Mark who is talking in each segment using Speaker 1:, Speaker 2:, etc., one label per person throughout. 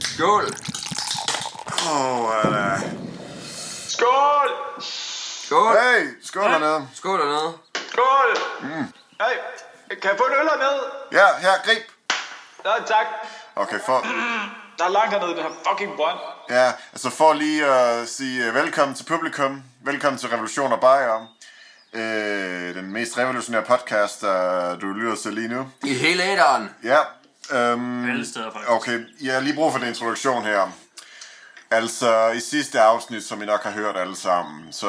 Speaker 1: Skål!
Speaker 2: Åh, oh,
Speaker 3: Skål!
Speaker 1: Skål!
Speaker 2: Hey, skål hernede.
Speaker 1: Skål dernede.
Speaker 3: Skål! Hey, kan jeg få en øl hernede?
Speaker 2: Ja, her, grib.
Speaker 3: Nej, tak.
Speaker 2: Okay, for,
Speaker 3: Der er langt hernede i den her fucking brønd.
Speaker 2: ja, altså for lige at sige øh, velkommen til publikum. Velkommen til Revolution og Bajer. Øh, den mest revolutionære podcast, øh, du lytter til lige nu.
Speaker 1: I hele æderen.
Speaker 2: Ja. Øhm,
Speaker 4: Alle steder, faktisk.
Speaker 2: Okay, jeg har lige brug for en introduktion her. Altså, i sidste afsnit, som I nok har hørt alle sammen, så,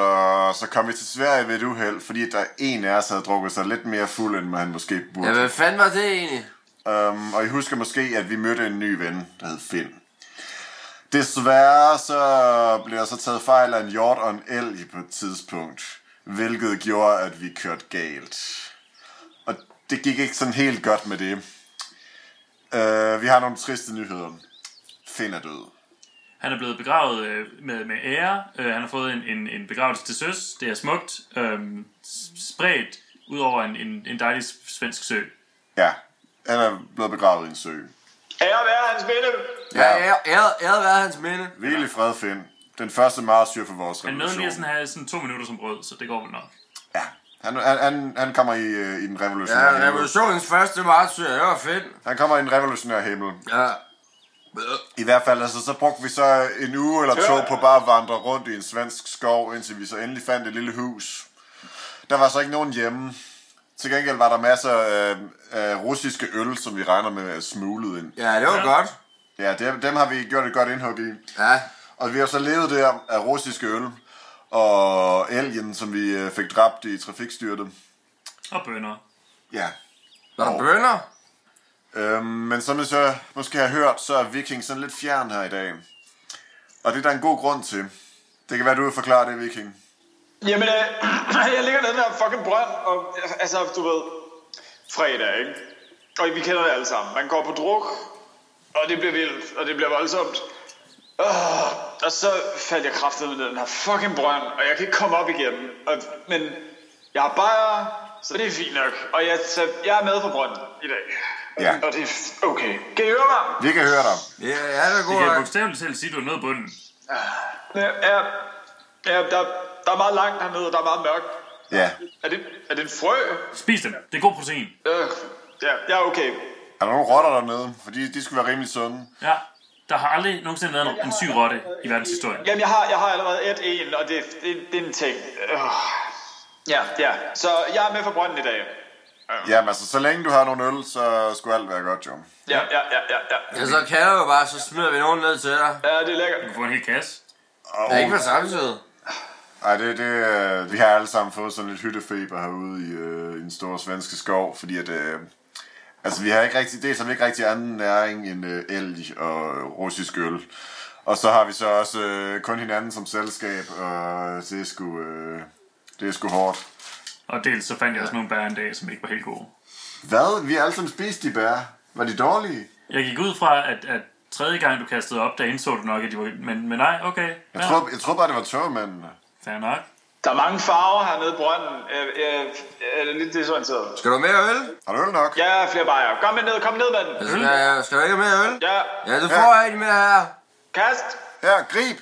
Speaker 2: så kom vi til Sverige ved et uheld, fordi der en af os havde drukket sig lidt mere fuld, end man måske burde.
Speaker 1: Ja, hvad fanden var det egentlig?
Speaker 2: Um, og I husker måske, at vi mødte en ny ven, der hed Finn. Desværre så blev jeg så taget fejl af en hjort og en elg på et tidspunkt, hvilket gjorde, at vi kørte galt. Og det gik ikke sådan helt godt med det. Uh, vi har nogle triste nyheder. Finn er død.
Speaker 4: Han er blevet begravet øh, med, med ære. Øh, han har fået en, en, en begravelse til søs. Det er smukt. Øh, s- spredt ud over en, en, en dejlig s- svensk sø.
Speaker 2: Ja, han er blevet begravet i en sø.
Speaker 3: Ære være hans minde.
Speaker 1: Ja, ære- ære- æret være hans minde.
Speaker 2: Hvil i fred, Finn. Den første marsyr for vores
Speaker 4: Han nåede
Speaker 2: revolution.
Speaker 4: lige at sådan have sådan to minutter som brød, så det går vel nok.
Speaker 2: Ja, han, han, han, han kommer i, øh, i den
Speaker 1: Ja,
Speaker 2: revolutionære himmel.
Speaker 1: revolutionens første martyr, det var fedt.
Speaker 2: Han kommer i den revolutionære himmel.
Speaker 1: Ja.
Speaker 2: I hvert fald, altså, så brugte vi så en uge eller to på bare at vandre rundt i en svensk skov, indtil vi så endelig fandt et lille hus. Der var så ikke nogen hjemme. Til gengæld var der masser af, af russiske øl, som vi regner med er smuglet ind.
Speaker 1: Ja, det var
Speaker 4: Ja.
Speaker 1: godt.
Speaker 2: Ja, dem, dem har vi gjort et godt indhug i.
Speaker 1: Ja.
Speaker 2: Og vi har så levet der af russiske øl og elgen, som vi øh, fik dræbt i trafikstyrtet.
Speaker 4: Og bønder.
Speaker 2: Ja.
Speaker 1: Var der bønder?
Speaker 2: Øhm, men som I så måske har hørt, så er Viking sådan lidt fjern her i dag. Og det er der en god grund til. Det kan være, du vil forklare det, Viking.
Speaker 3: Jamen, øh, jeg ligger nede i den her fucking brønd, og altså, du ved, fredag, ikke? Og vi kender det alle sammen. Man går på druk, og det bliver vildt, og det bliver voldsomt. Uh, og så faldt jeg kraftet med den her fucking brønd, og jeg kan ikke komme op igen. Og, men jeg har bare, så det er fint nok. Og jeg, så jeg er med på brønden i dag.
Speaker 2: Ja.
Speaker 3: Og det er f- okay. Kan I høre mig?
Speaker 2: Vi kan høre dig.
Speaker 1: Ja, ja, det er
Speaker 4: Det kan jeg
Speaker 1: godt.
Speaker 4: bogstaveligt talt sige, at du er nede i bunden.
Speaker 3: Ja, Øh, ja, ja der, der er meget langt hernede, og der er meget mørkt.
Speaker 2: Ja.
Speaker 3: Er det, er det en frø?
Speaker 4: Spis dem. Det er god protein.
Speaker 3: Øh, ja, ja, okay.
Speaker 2: Er der nogen rotter dernede? Fordi de skulle være rimelig sunde.
Speaker 4: Ja. Der har aldrig nogensinde været en- en syg rotte i verdenshistorien.
Speaker 3: Jamen, jeg har, jeg har allerede et en, og det, det, det er en ting. Øh. Ja, ja. Så jeg er med for brønden i dag.
Speaker 2: Jamen altså, så længe du har nogle øl, så skulle alt være godt, jo.
Speaker 3: Ja, ja, ja, ja, ja.
Speaker 1: Ja, så kalder du bare, så smider vi nogen ned til dig.
Speaker 3: Ja, det er lækkert.
Speaker 4: Du får en hel kasse.
Speaker 2: Og,
Speaker 1: Det er ikke for samtidig.
Speaker 2: ej, det, det, øh, vi har alle sammen fået sådan lidt hyttefeber herude i, øh, i den store svenske skov, fordi at... Øh, altså, vi har ikke rigtig... Dels har vi ikke rigtig anden næring end øh, elg og øh, russisk øl. Og så har vi så også øh, kun hinanden som selskab, og det er sgu, øh, det er sgu hårdt.
Speaker 4: Og dels så fandt jeg også nogle bær en dag, som ikke var helt gode.
Speaker 2: Hvad? Vi har alle sammen spist de bær. Var de dårlige?
Speaker 4: Jeg gik ud fra, at, at tredje gang du kastede op, der indså du nok, at de var... Men, men nej, okay.
Speaker 2: Jeg,
Speaker 4: Ja,
Speaker 2: tror, jeg tror bare, det var tørmændene.
Speaker 4: fair nok.
Speaker 3: Der er mange farver hernede i brønden. Øh, øh, øh, det er lidt desorienteret.
Speaker 1: Skal du have mere øl?
Speaker 2: Har du øl nok?
Speaker 3: Ja, flere bajer. Kom med ned, kom ned med den.
Speaker 1: Altså, ja, skal du ikke have mere øl?
Speaker 3: Ja,
Speaker 1: Ja, du får en mere her.
Speaker 3: kast.
Speaker 2: Ja, grib!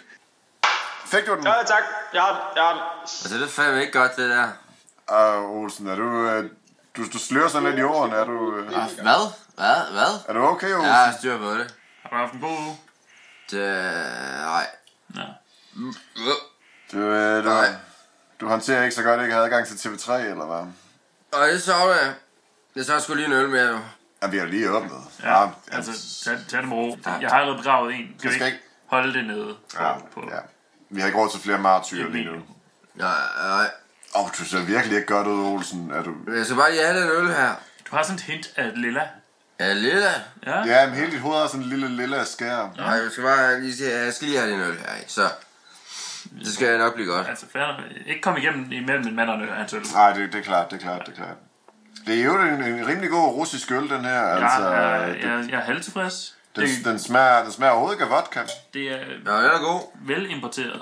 Speaker 2: Fik du den?
Speaker 3: Ja, tak. Jeg har den, jeg har den.
Speaker 1: Altså, det er fandme ikke godt, det der.
Speaker 2: Ah, Olsen, er du, øh, du, du slører sådan lidt i jorden. Er du, øh,
Speaker 1: Hvad? Hvad? Hvad?
Speaker 2: er du okay, Olsen?
Speaker 1: Jeg har styr på det.
Speaker 4: Har du haft en god uge?
Speaker 1: Det... Øh, Nej. Mm,
Speaker 4: Ja.
Speaker 2: Du, øh, du,
Speaker 1: Nej.
Speaker 2: du håndterer ikke så godt, at ikke havde adgang til TV3, eller hvad?
Speaker 1: Og det savner jeg. Jeg savner sgu lige en øl mere, jo.
Speaker 2: Ja, vi har lige åbnet.
Speaker 4: Ja, altså, tag, tag det med ro. Jeg har allerede begravet en. Skal vi
Speaker 2: skal
Speaker 4: ikke holde det nede på,
Speaker 2: ja,
Speaker 4: på
Speaker 2: ja. Vi har ikke råd til flere martyrer
Speaker 4: et
Speaker 2: lige nu.
Speaker 4: minimum?
Speaker 1: Nej, nej.
Speaker 2: Åh, oh, du ser virkelig ikke godt ud, Olsen. Er du...
Speaker 1: Men Jeg skal bare lige have den øl her.
Speaker 4: Du har sådan et hint af et lilla.
Speaker 1: Ja, lidt af.
Speaker 4: Ja? ja.
Speaker 2: Ja, men hele dit hoved har sådan en lille, lille skær.
Speaker 1: Nej, jeg skal bare lige se. Jeg skal lige have den øl her, ikke? Så... Det skal nok blive godt.
Speaker 4: Altså, fair nok. Ikke komme igennem imellem en mand og en hans øl.
Speaker 2: Nej, det, det er klart, det er klart, det er klart. Det er jo en, en rimelig god russisk øl, den her. Altså,
Speaker 4: Jeg, er,
Speaker 2: det-
Speaker 4: jeg, jeg er halvtilfreds. Det,
Speaker 2: Den, den, smager, den smager overhovedet ikke af vodka.
Speaker 4: det er
Speaker 1: Ja, den er god.
Speaker 4: velimporteret.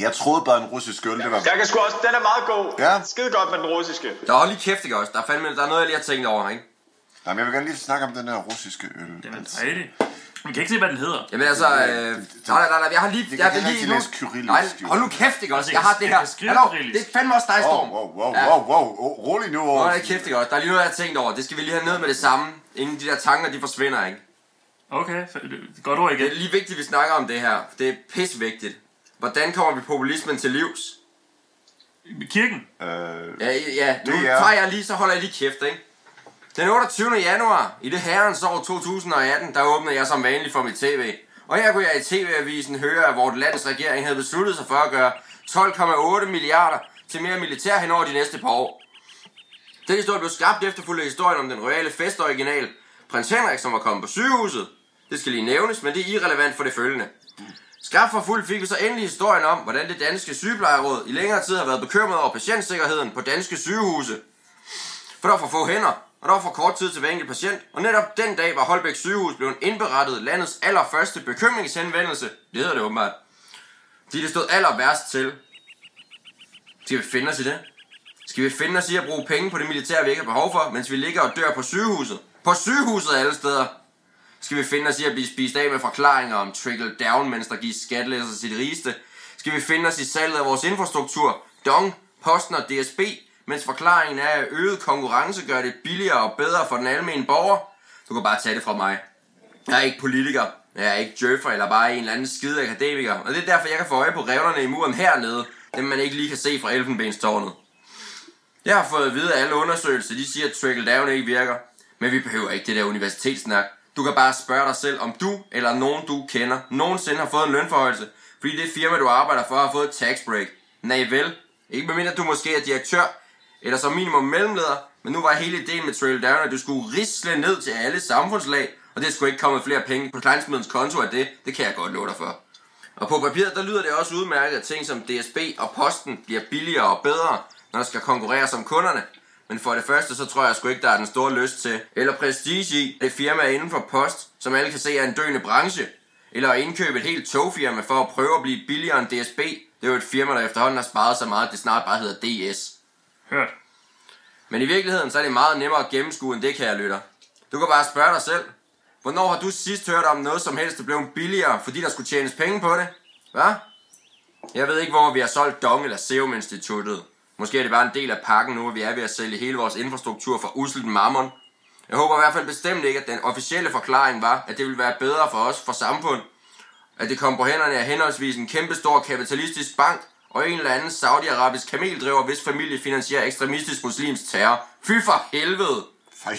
Speaker 2: Jeg troede bare, en russisk øl, det var...
Speaker 3: Jeg kan sgu også, den er meget god.
Speaker 2: Ja.
Speaker 3: Skide godt med den russiske.
Speaker 1: Der er lige kæft, ikke også? Der er fandme... Der er noget, jeg lige har tænkt over, ikke?
Speaker 2: Nej, men jeg vil gerne lige snakke om den her russiske øl. Altså.
Speaker 4: Det er dejligt. Vi kan ikke se, hvad den hedder.
Speaker 1: Jamen altså, øh, nej, nej, nej, nej, jeg har lige...
Speaker 2: kan
Speaker 1: jeg
Speaker 2: ikke
Speaker 1: vil
Speaker 2: rigtig
Speaker 1: nu-
Speaker 2: læse kyrillisk,
Speaker 1: Nej,
Speaker 2: jo.
Speaker 1: hold nu kæft, ikke også?
Speaker 4: Altså,
Speaker 1: Jeg har det
Speaker 4: jeg
Speaker 1: her.
Speaker 4: kan skrive
Speaker 1: Hallo,
Speaker 4: kyrillisk.
Speaker 1: det er fandme også dig,
Speaker 2: Wow,
Speaker 1: Storm.
Speaker 2: wow, wow,
Speaker 1: Ja.
Speaker 2: wow, wow. Oh, rolig nu.
Speaker 1: Hold da kæft, ikke også? Der er lige noget, jeg har tænkt over. Det skal vi lige have ned med det samme, inden de der tanker, de forsvinder, ikke?
Speaker 4: Okay, f- godt ord
Speaker 1: Det er
Speaker 4: igen.
Speaker 1: lige vigtigt, at vi snakker om det her. Det er pissvigtigt. Hvordan kommer vi populismen til livs?
Speaker 4: Kirken.
Speaker 2: Øh,
Speaker 1: Ja, ja, nu
Speaker 2: Det er-
Speaker 1: tager jeg lige, så holder jeg lige kæft, ikke? Den 28. januar i det herrens år 2018, der åbnede jeg som vanligt for mit tv. Og her kunne jeg i tv-avisen høre, at vores lands regering havde besluttet sig for at gøre 12,8 milliarder til mere militær hen over de næste par år. Den historie blev skabt efterfulgt af historien om den royale festoriginal, prins Henrik, som var kommet på sygehuset. Det skal lige nævnes, men det er irrelevant for det følgende. Skarpt for fuld fik vi så endelig historien om, hvordan det danske sygeplejeråd i længere tid har været bekymret over patientsikkerheden på danske sygehuse. For der var for få hænder, og der var for kort tid til hver enkelt patient, og netop den dag var Holbæk sygehus blevet indberettet landets allerførste bekymringshenvendelse. Det hedder det åbenbart. De det stod aller værst til. Skal vi finde os i det? Skal vi finde os i at bruge penge på det militær, vi ikke har behov for, mens vi ligger og dør på sygehuset? På sygehuset alle steder! Skal vi finde os i at blive spist af med forklaringer om trickle down, mens der gives skattelæsser til de rigeste? Skal vi finde os i salget af vores infrastruktur, Dong, Posten og DSB, mens forklaringen er, at øget konkurrence gør det billigere og bedre for den almindelige borger? Du kan bare tage det fra mig. Jeg er ikke politiker, jeg er ikke djøffer eller bare en eller anden skide akademiker, og det er derfor, jeg kan få øje på revnerne i muren hernede, dem man ikke lige kan se fra elfenbenstårnet. Jeg har fået at vide, at alle undersøgelser, de siger, at trickle down ikke virker. Men vi behøver ikke det der universitetssnak. Du kan bare spørge dig selv, om du eller nogen du kender nogensinde har fået en lønforhøjelse, fordi det firma, du arbejder for, har fået et tax break. Nej vel, ikke medmindre du måske er direktør, eller som minimum mellemleder, men nu var hele ideen med trickle down, at du skulle risle ned til alle samfundslag, og det skulle ikke komme flere penge på kleinsmidens konto af det, det kan jeg godt love dig for. Og på papiret, der lyder det også udmærket, at ting som DSB og Posten bliver billigere og bedre, når der skal konkurrere som kunderne. Men for det første, så tror jeg sgu ikke, der er den store lyst til, eller prestige i, at et firma inden for post, som alle kan se er en døende branche, eller at indkøbe et helt togfirma for at prøve at blive billigere end DSB. Det er jo et firma, der efterhånden har sparet så meget, at det snart bare hedder DS.
Speaker 4: Hørt.
Speaker 1: Men i virkeligheden, så er det meget nemmere at gennemskue end det, kære lytter. Du kan bare spørge dig selv. Hvornår har du sidst hørt om noget som helst, der blev billigere, fordi der skulle tjenes penge på det? Hvad? Jeg ved ikke, hvor vi har solgt Dong eller Serum Instituttet. Måske er det bare en del af pakken nu, at vi er ved at sælge hele vores infrastruktur for uselt mammon. Jeg håber i hvert fald bestemt ikke, at den officielle forklaring var, at det ville være bedre for os, for samfund, at det kom på hænderne af henholdsvis en kæmpestor kapitalistisk bank og en eller anden saudiarabisk kameldriver, hvis familie finansierer ekstremistisk muslimsk terror. Fy for helvede!
Speaker 2: fej.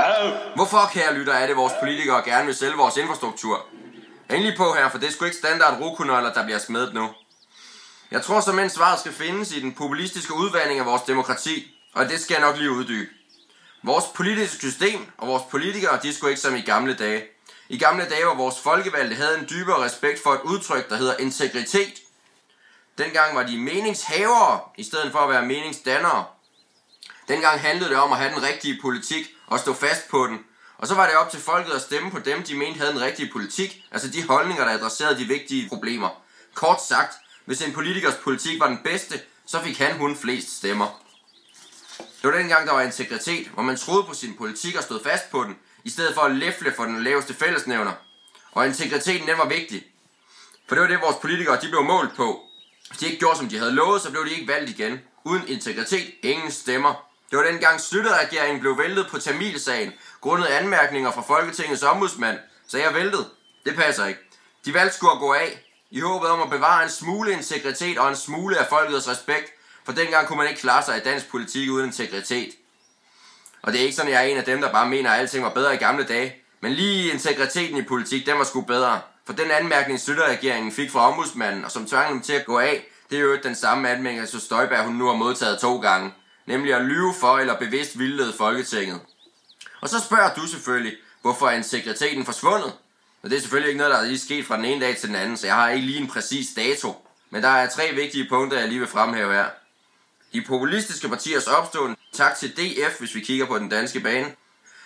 Speaker 3: Hallo.
Speaker 1: Hvorfor, kære lytter, er det vores politikere gerne vil sælge vores infrastruktur? Endelig på her, for det er sgu ikke standard rokonøller, der bliver smedt nu. Jeg tror simpelthen svaret skal findes i den populistiske udvandring af vores demokrati, og det skal jeg nok lige uddybe. Vores politiske system og vores politikere, de er sgu ikke som i gamle dage. I gamle dage, hvor vores folkevalgte havde en dybere respekt for et udtryk, der hedder integritet. Dengang var de meningshavere, i stedet for at være meningsdannere. Dengang handlede det om at have den rigtige politik og stå fast på den. Og så var det op til folket at stemme på dem, de mente havde den rigtige politik, altså de holdninger, der adresserede de vigtige problemer. Kort sagt, hvis en politikers politik var den bedste, så fik han hun flest stemmer. Det var dengang, der var integritet, hvor man troede på sin politik og stod fast på den, i stedet for at læfle for den laveste fællesnævner. Og integriteten, den var vigtig. For det var det, vores politikere de blev målt på. Hvis de ikke gjorde, som de havde lovet, så blev de ikke valgt igen. Uden integritet, ingen stemmer. Det var dengang Slytterregeringen blev væltet på Tamilsagen, grundet anmærkninger fra Folketingets ombudsmand. Så jeg væltet. Det passer ikke. De valgte skulle at gå af, i håbet om at bevare en smule integritet og en smule af folkets respekt, for dengang kunne man ikke klare sig i dansk politik uden integritet. Og det er ikke sådan, at jeg er en af dem, der bare mener, at alting var bedre i gamle dage. Men lige integriteten i politik, den var sgu bedre. For den anmærkning, Søtterregeringen fik fra ombudsmanden, og som tvang dem til at gå af, det er jo den samme anmærkning, som Støjberg hun nu har modtaget to gange. Nemlig at lyve for eller bevidst vildlede Folketinget. Og så spørger du selvfølgelig, hvorfor er integriteten forsvundet? Og det er selvfølgelig ikke noget, der er lige sket fra den ene dag til den anden, så jeg har ikke lige en præcis dato. Men der er tre vigtige punkter, jeg lige vil fremhæve her. De populistiske partiers opståen, tak til DF, hvis vi kigger på den danske bane.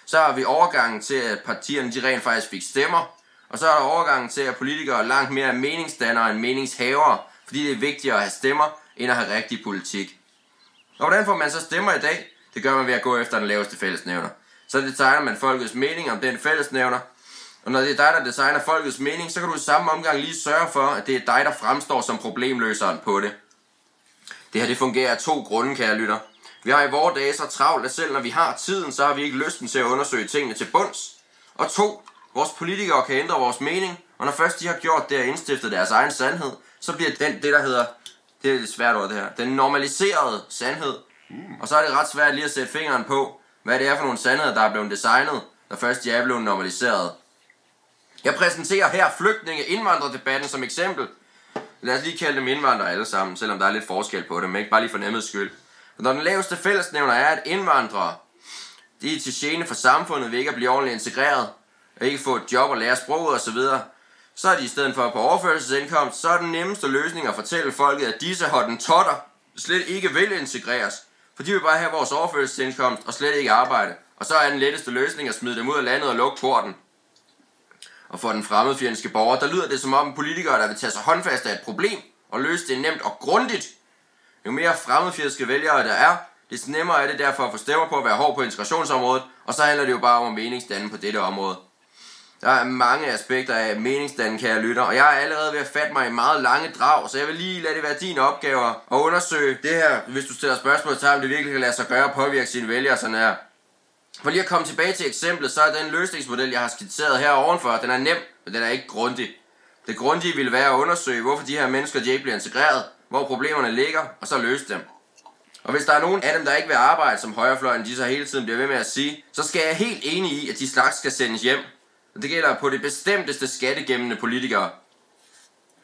Speaker 1: Så har vi overgangen til, at partierne de rent faktisk fik stemmer. Og så er der overgangen til, at politikere er langt mere er meningsdannere end meningshavere, fordi det er vigtigere at have stemmer, end at have rigtig politik. Og hvordan får man så stemmer i dag? Det gør man ved at gå efter den laveste fællesnævner. Så detegner man folkets mening om den fællesnævner, Og når det er dig, der designer folkets mening, så kan du i samme omgang lige sørge for, at det er dig, der fremstår som problemløseren på det. Det her det fungerer af to grunde, kære lytter. Vi har i vore dage så travlt, at selv når vi har tiden, så har vi ikke lysten til at undersøge tingene til bunds. Og to, vores politikere kan ændre vores mening, og når først de har gjort det og indstiftet deres egen sandhed, så bliver den det, der hedder, det er lidt svært ord det her, den normaliserede sandhed. Og så er det ret svært lige at sætte fingeren på, hvad det er for nogle sandheder, der er blevet designet, når først de er blevet normaliseret. Jeg præsenterer her flygtninge-indvandrerdebatten som eksempel, Lad os lige kalde dem indvandrere alle sammen, selvom der er lidt forskel på dem, men ikke bare lige for nemmets skyld. Og når den laveste fællesnævner er, at indvandrere, de er til gene for samfundet ved ikke at blive ordentligt integreret, og ikke få et job og lære sproget osv., så er de i stedet for på overførselsindkomst, så er den nemmeste løsning at fortælle folket, at disse totter slet ikke vil integreres, for de vil bare have vores overførselsindkomst og slet ikke arbejde. Og så er den letteste løsning at smide dem ud af landet og lukke porten. Og for den fremmedfjendske borger, der lyder det som om politikere, der vil tage sig håndfast af et problem og løse det nemt og grundigt. Jo mere fremmedfjendske vælgere der er, desto nemmere er det derfor at få stemmer på at være hård på integrationsområdet, og så handler det jo bare om at meningsdanne på dette område. Der er mange aspekter af meningsdannelse, kære lytter, og jeg er allerede ved at fatte mig i meget lange drag, så jeg vil lige lade det være din opgave at undersøge det her, hvis du stiller spørgsmål til, om det virkelig kan lade sig gøre at påvirke sine vælgere sådan her. For lige at komme tilbage til eksemplet, så er den løsningsmodel, jeg har skitseret her ovenfor, den er nem, men den er ikke grundig. Det grundige ville være at undersøge, hvorfor de her mennesker de ikke bliver integreret, hvor problemerne ligger, og så løse dem. Og hvis der er nogen af dem, der ikke vil arbejde, som højrefløjen de så hele tiden bliver ved med at sige, så skal jeg helt enig i, at de slags skal sendes hjem. Og det gælder på det bestemteste skattegemmende politikere.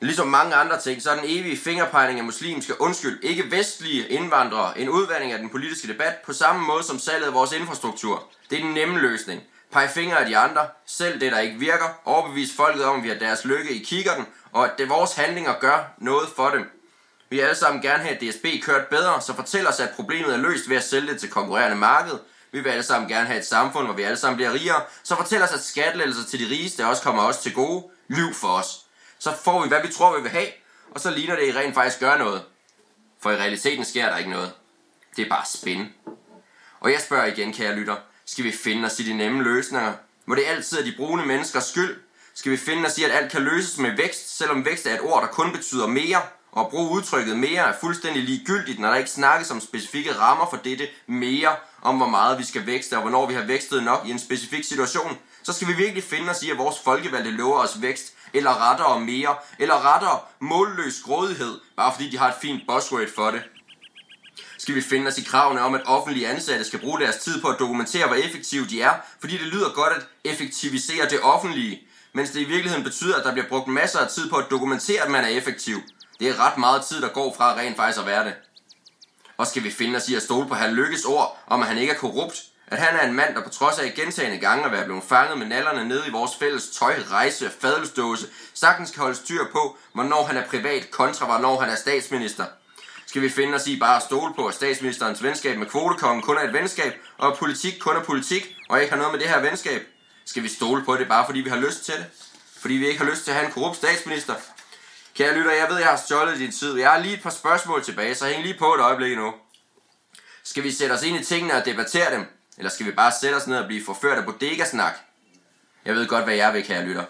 Speaker 1: Ligesom mange andre ting, så er den evige fingerpegning af muslimske, undskyld, ikke vestlige indvandrere en udvandring af den politiske debat på samme måde som salget af vores infrastruktur. Det er den nemme løsning. Pege fingre af de andre, selv det der ikke virker, overbevis folket om, at vi har deres lykke i kikkerten, og at det vores handlinger gør noget for dem. Vi vil alle sammen gerne have, at DSB kørt bedre, så fortæl os, at problemet er løst ved at sælge det til konkurrerende marked. Vi vil alle sammen gerne have et samfund, hvor vi alle sammen bliver rigere, så fortæl os, at skattelettelser til de rigeste også kommer os til gode. Lyv for os. Så får vi, hvad vi tror, vi vil have, og så ligner det, at I rent faktisk gør noget. For i realiteten sker der ikke noget. Det er bare spin. Og jeg spørger igen, kære lytter, skal vi finde os i de nemme løsninger? Må det altid er de brune menneskers skyld? Skal vi finde os i, at alt kan løses med vækst, selvom vækst er et ord, der kun betyder mere? Og at bruge udtrykket mere er fuldstændig ligegyldigt, når der ikke snakkes om specifikke rammer for dette mere, om hvor meget vi skal vækste og hvornår vi har vækstet nok i en specifik situation, så skal vi virkelig finde os i, at vores folkevalgte lover os vækst, eller rettere mere, eller rettere målløs grådighed, bare fordi de har et fint buzzword for det skal vi finde os i kravene om, at offentlige ansatte skal bruge deres tid på at dokumentere, hvor effektive de er, fordi det lyder godt at effektivisere det offentlige, mens det i virkeligheden betyder, at der bliver brugt masser af tid på at dokumentere, at man er effektiv. Det er ret meget tid, der går fra rent faktisk at være det. Og skal vi finde os i at stole på han Lykkes ord om, at han ikke er korrupt? At han er en mand, der på trods af gentagende gange at være blevet fanget med nallerne nede i vores fælles tøj, rejse og fadelsdåse, sagtens kan holde styr på, hvornår han er privat kontra hvornår han er statsminister. Skal vi finde os i bare at stole på, at statsministerens venskab med kvotekongen kun er et venskab, og at politik kun er politik, og ikke har noget med det her venskab? Skal vi stole på det bare fordi vi har lyst til det? Fordi vi ikke har lyst til at have en korrupt statsminister? Kære lytter, jeg ved, jeg har stjålet din tid. Jeg har lige et par spørgsmål tilbage, så hæng lige på et øjeblik nu. Skal vi sætte os ind i tingene og debattere dem? Eller skal vi bare sætte os ned og blive forført af bodega-snak? Jeg ved godt, hvad jeg vil, kære lytter.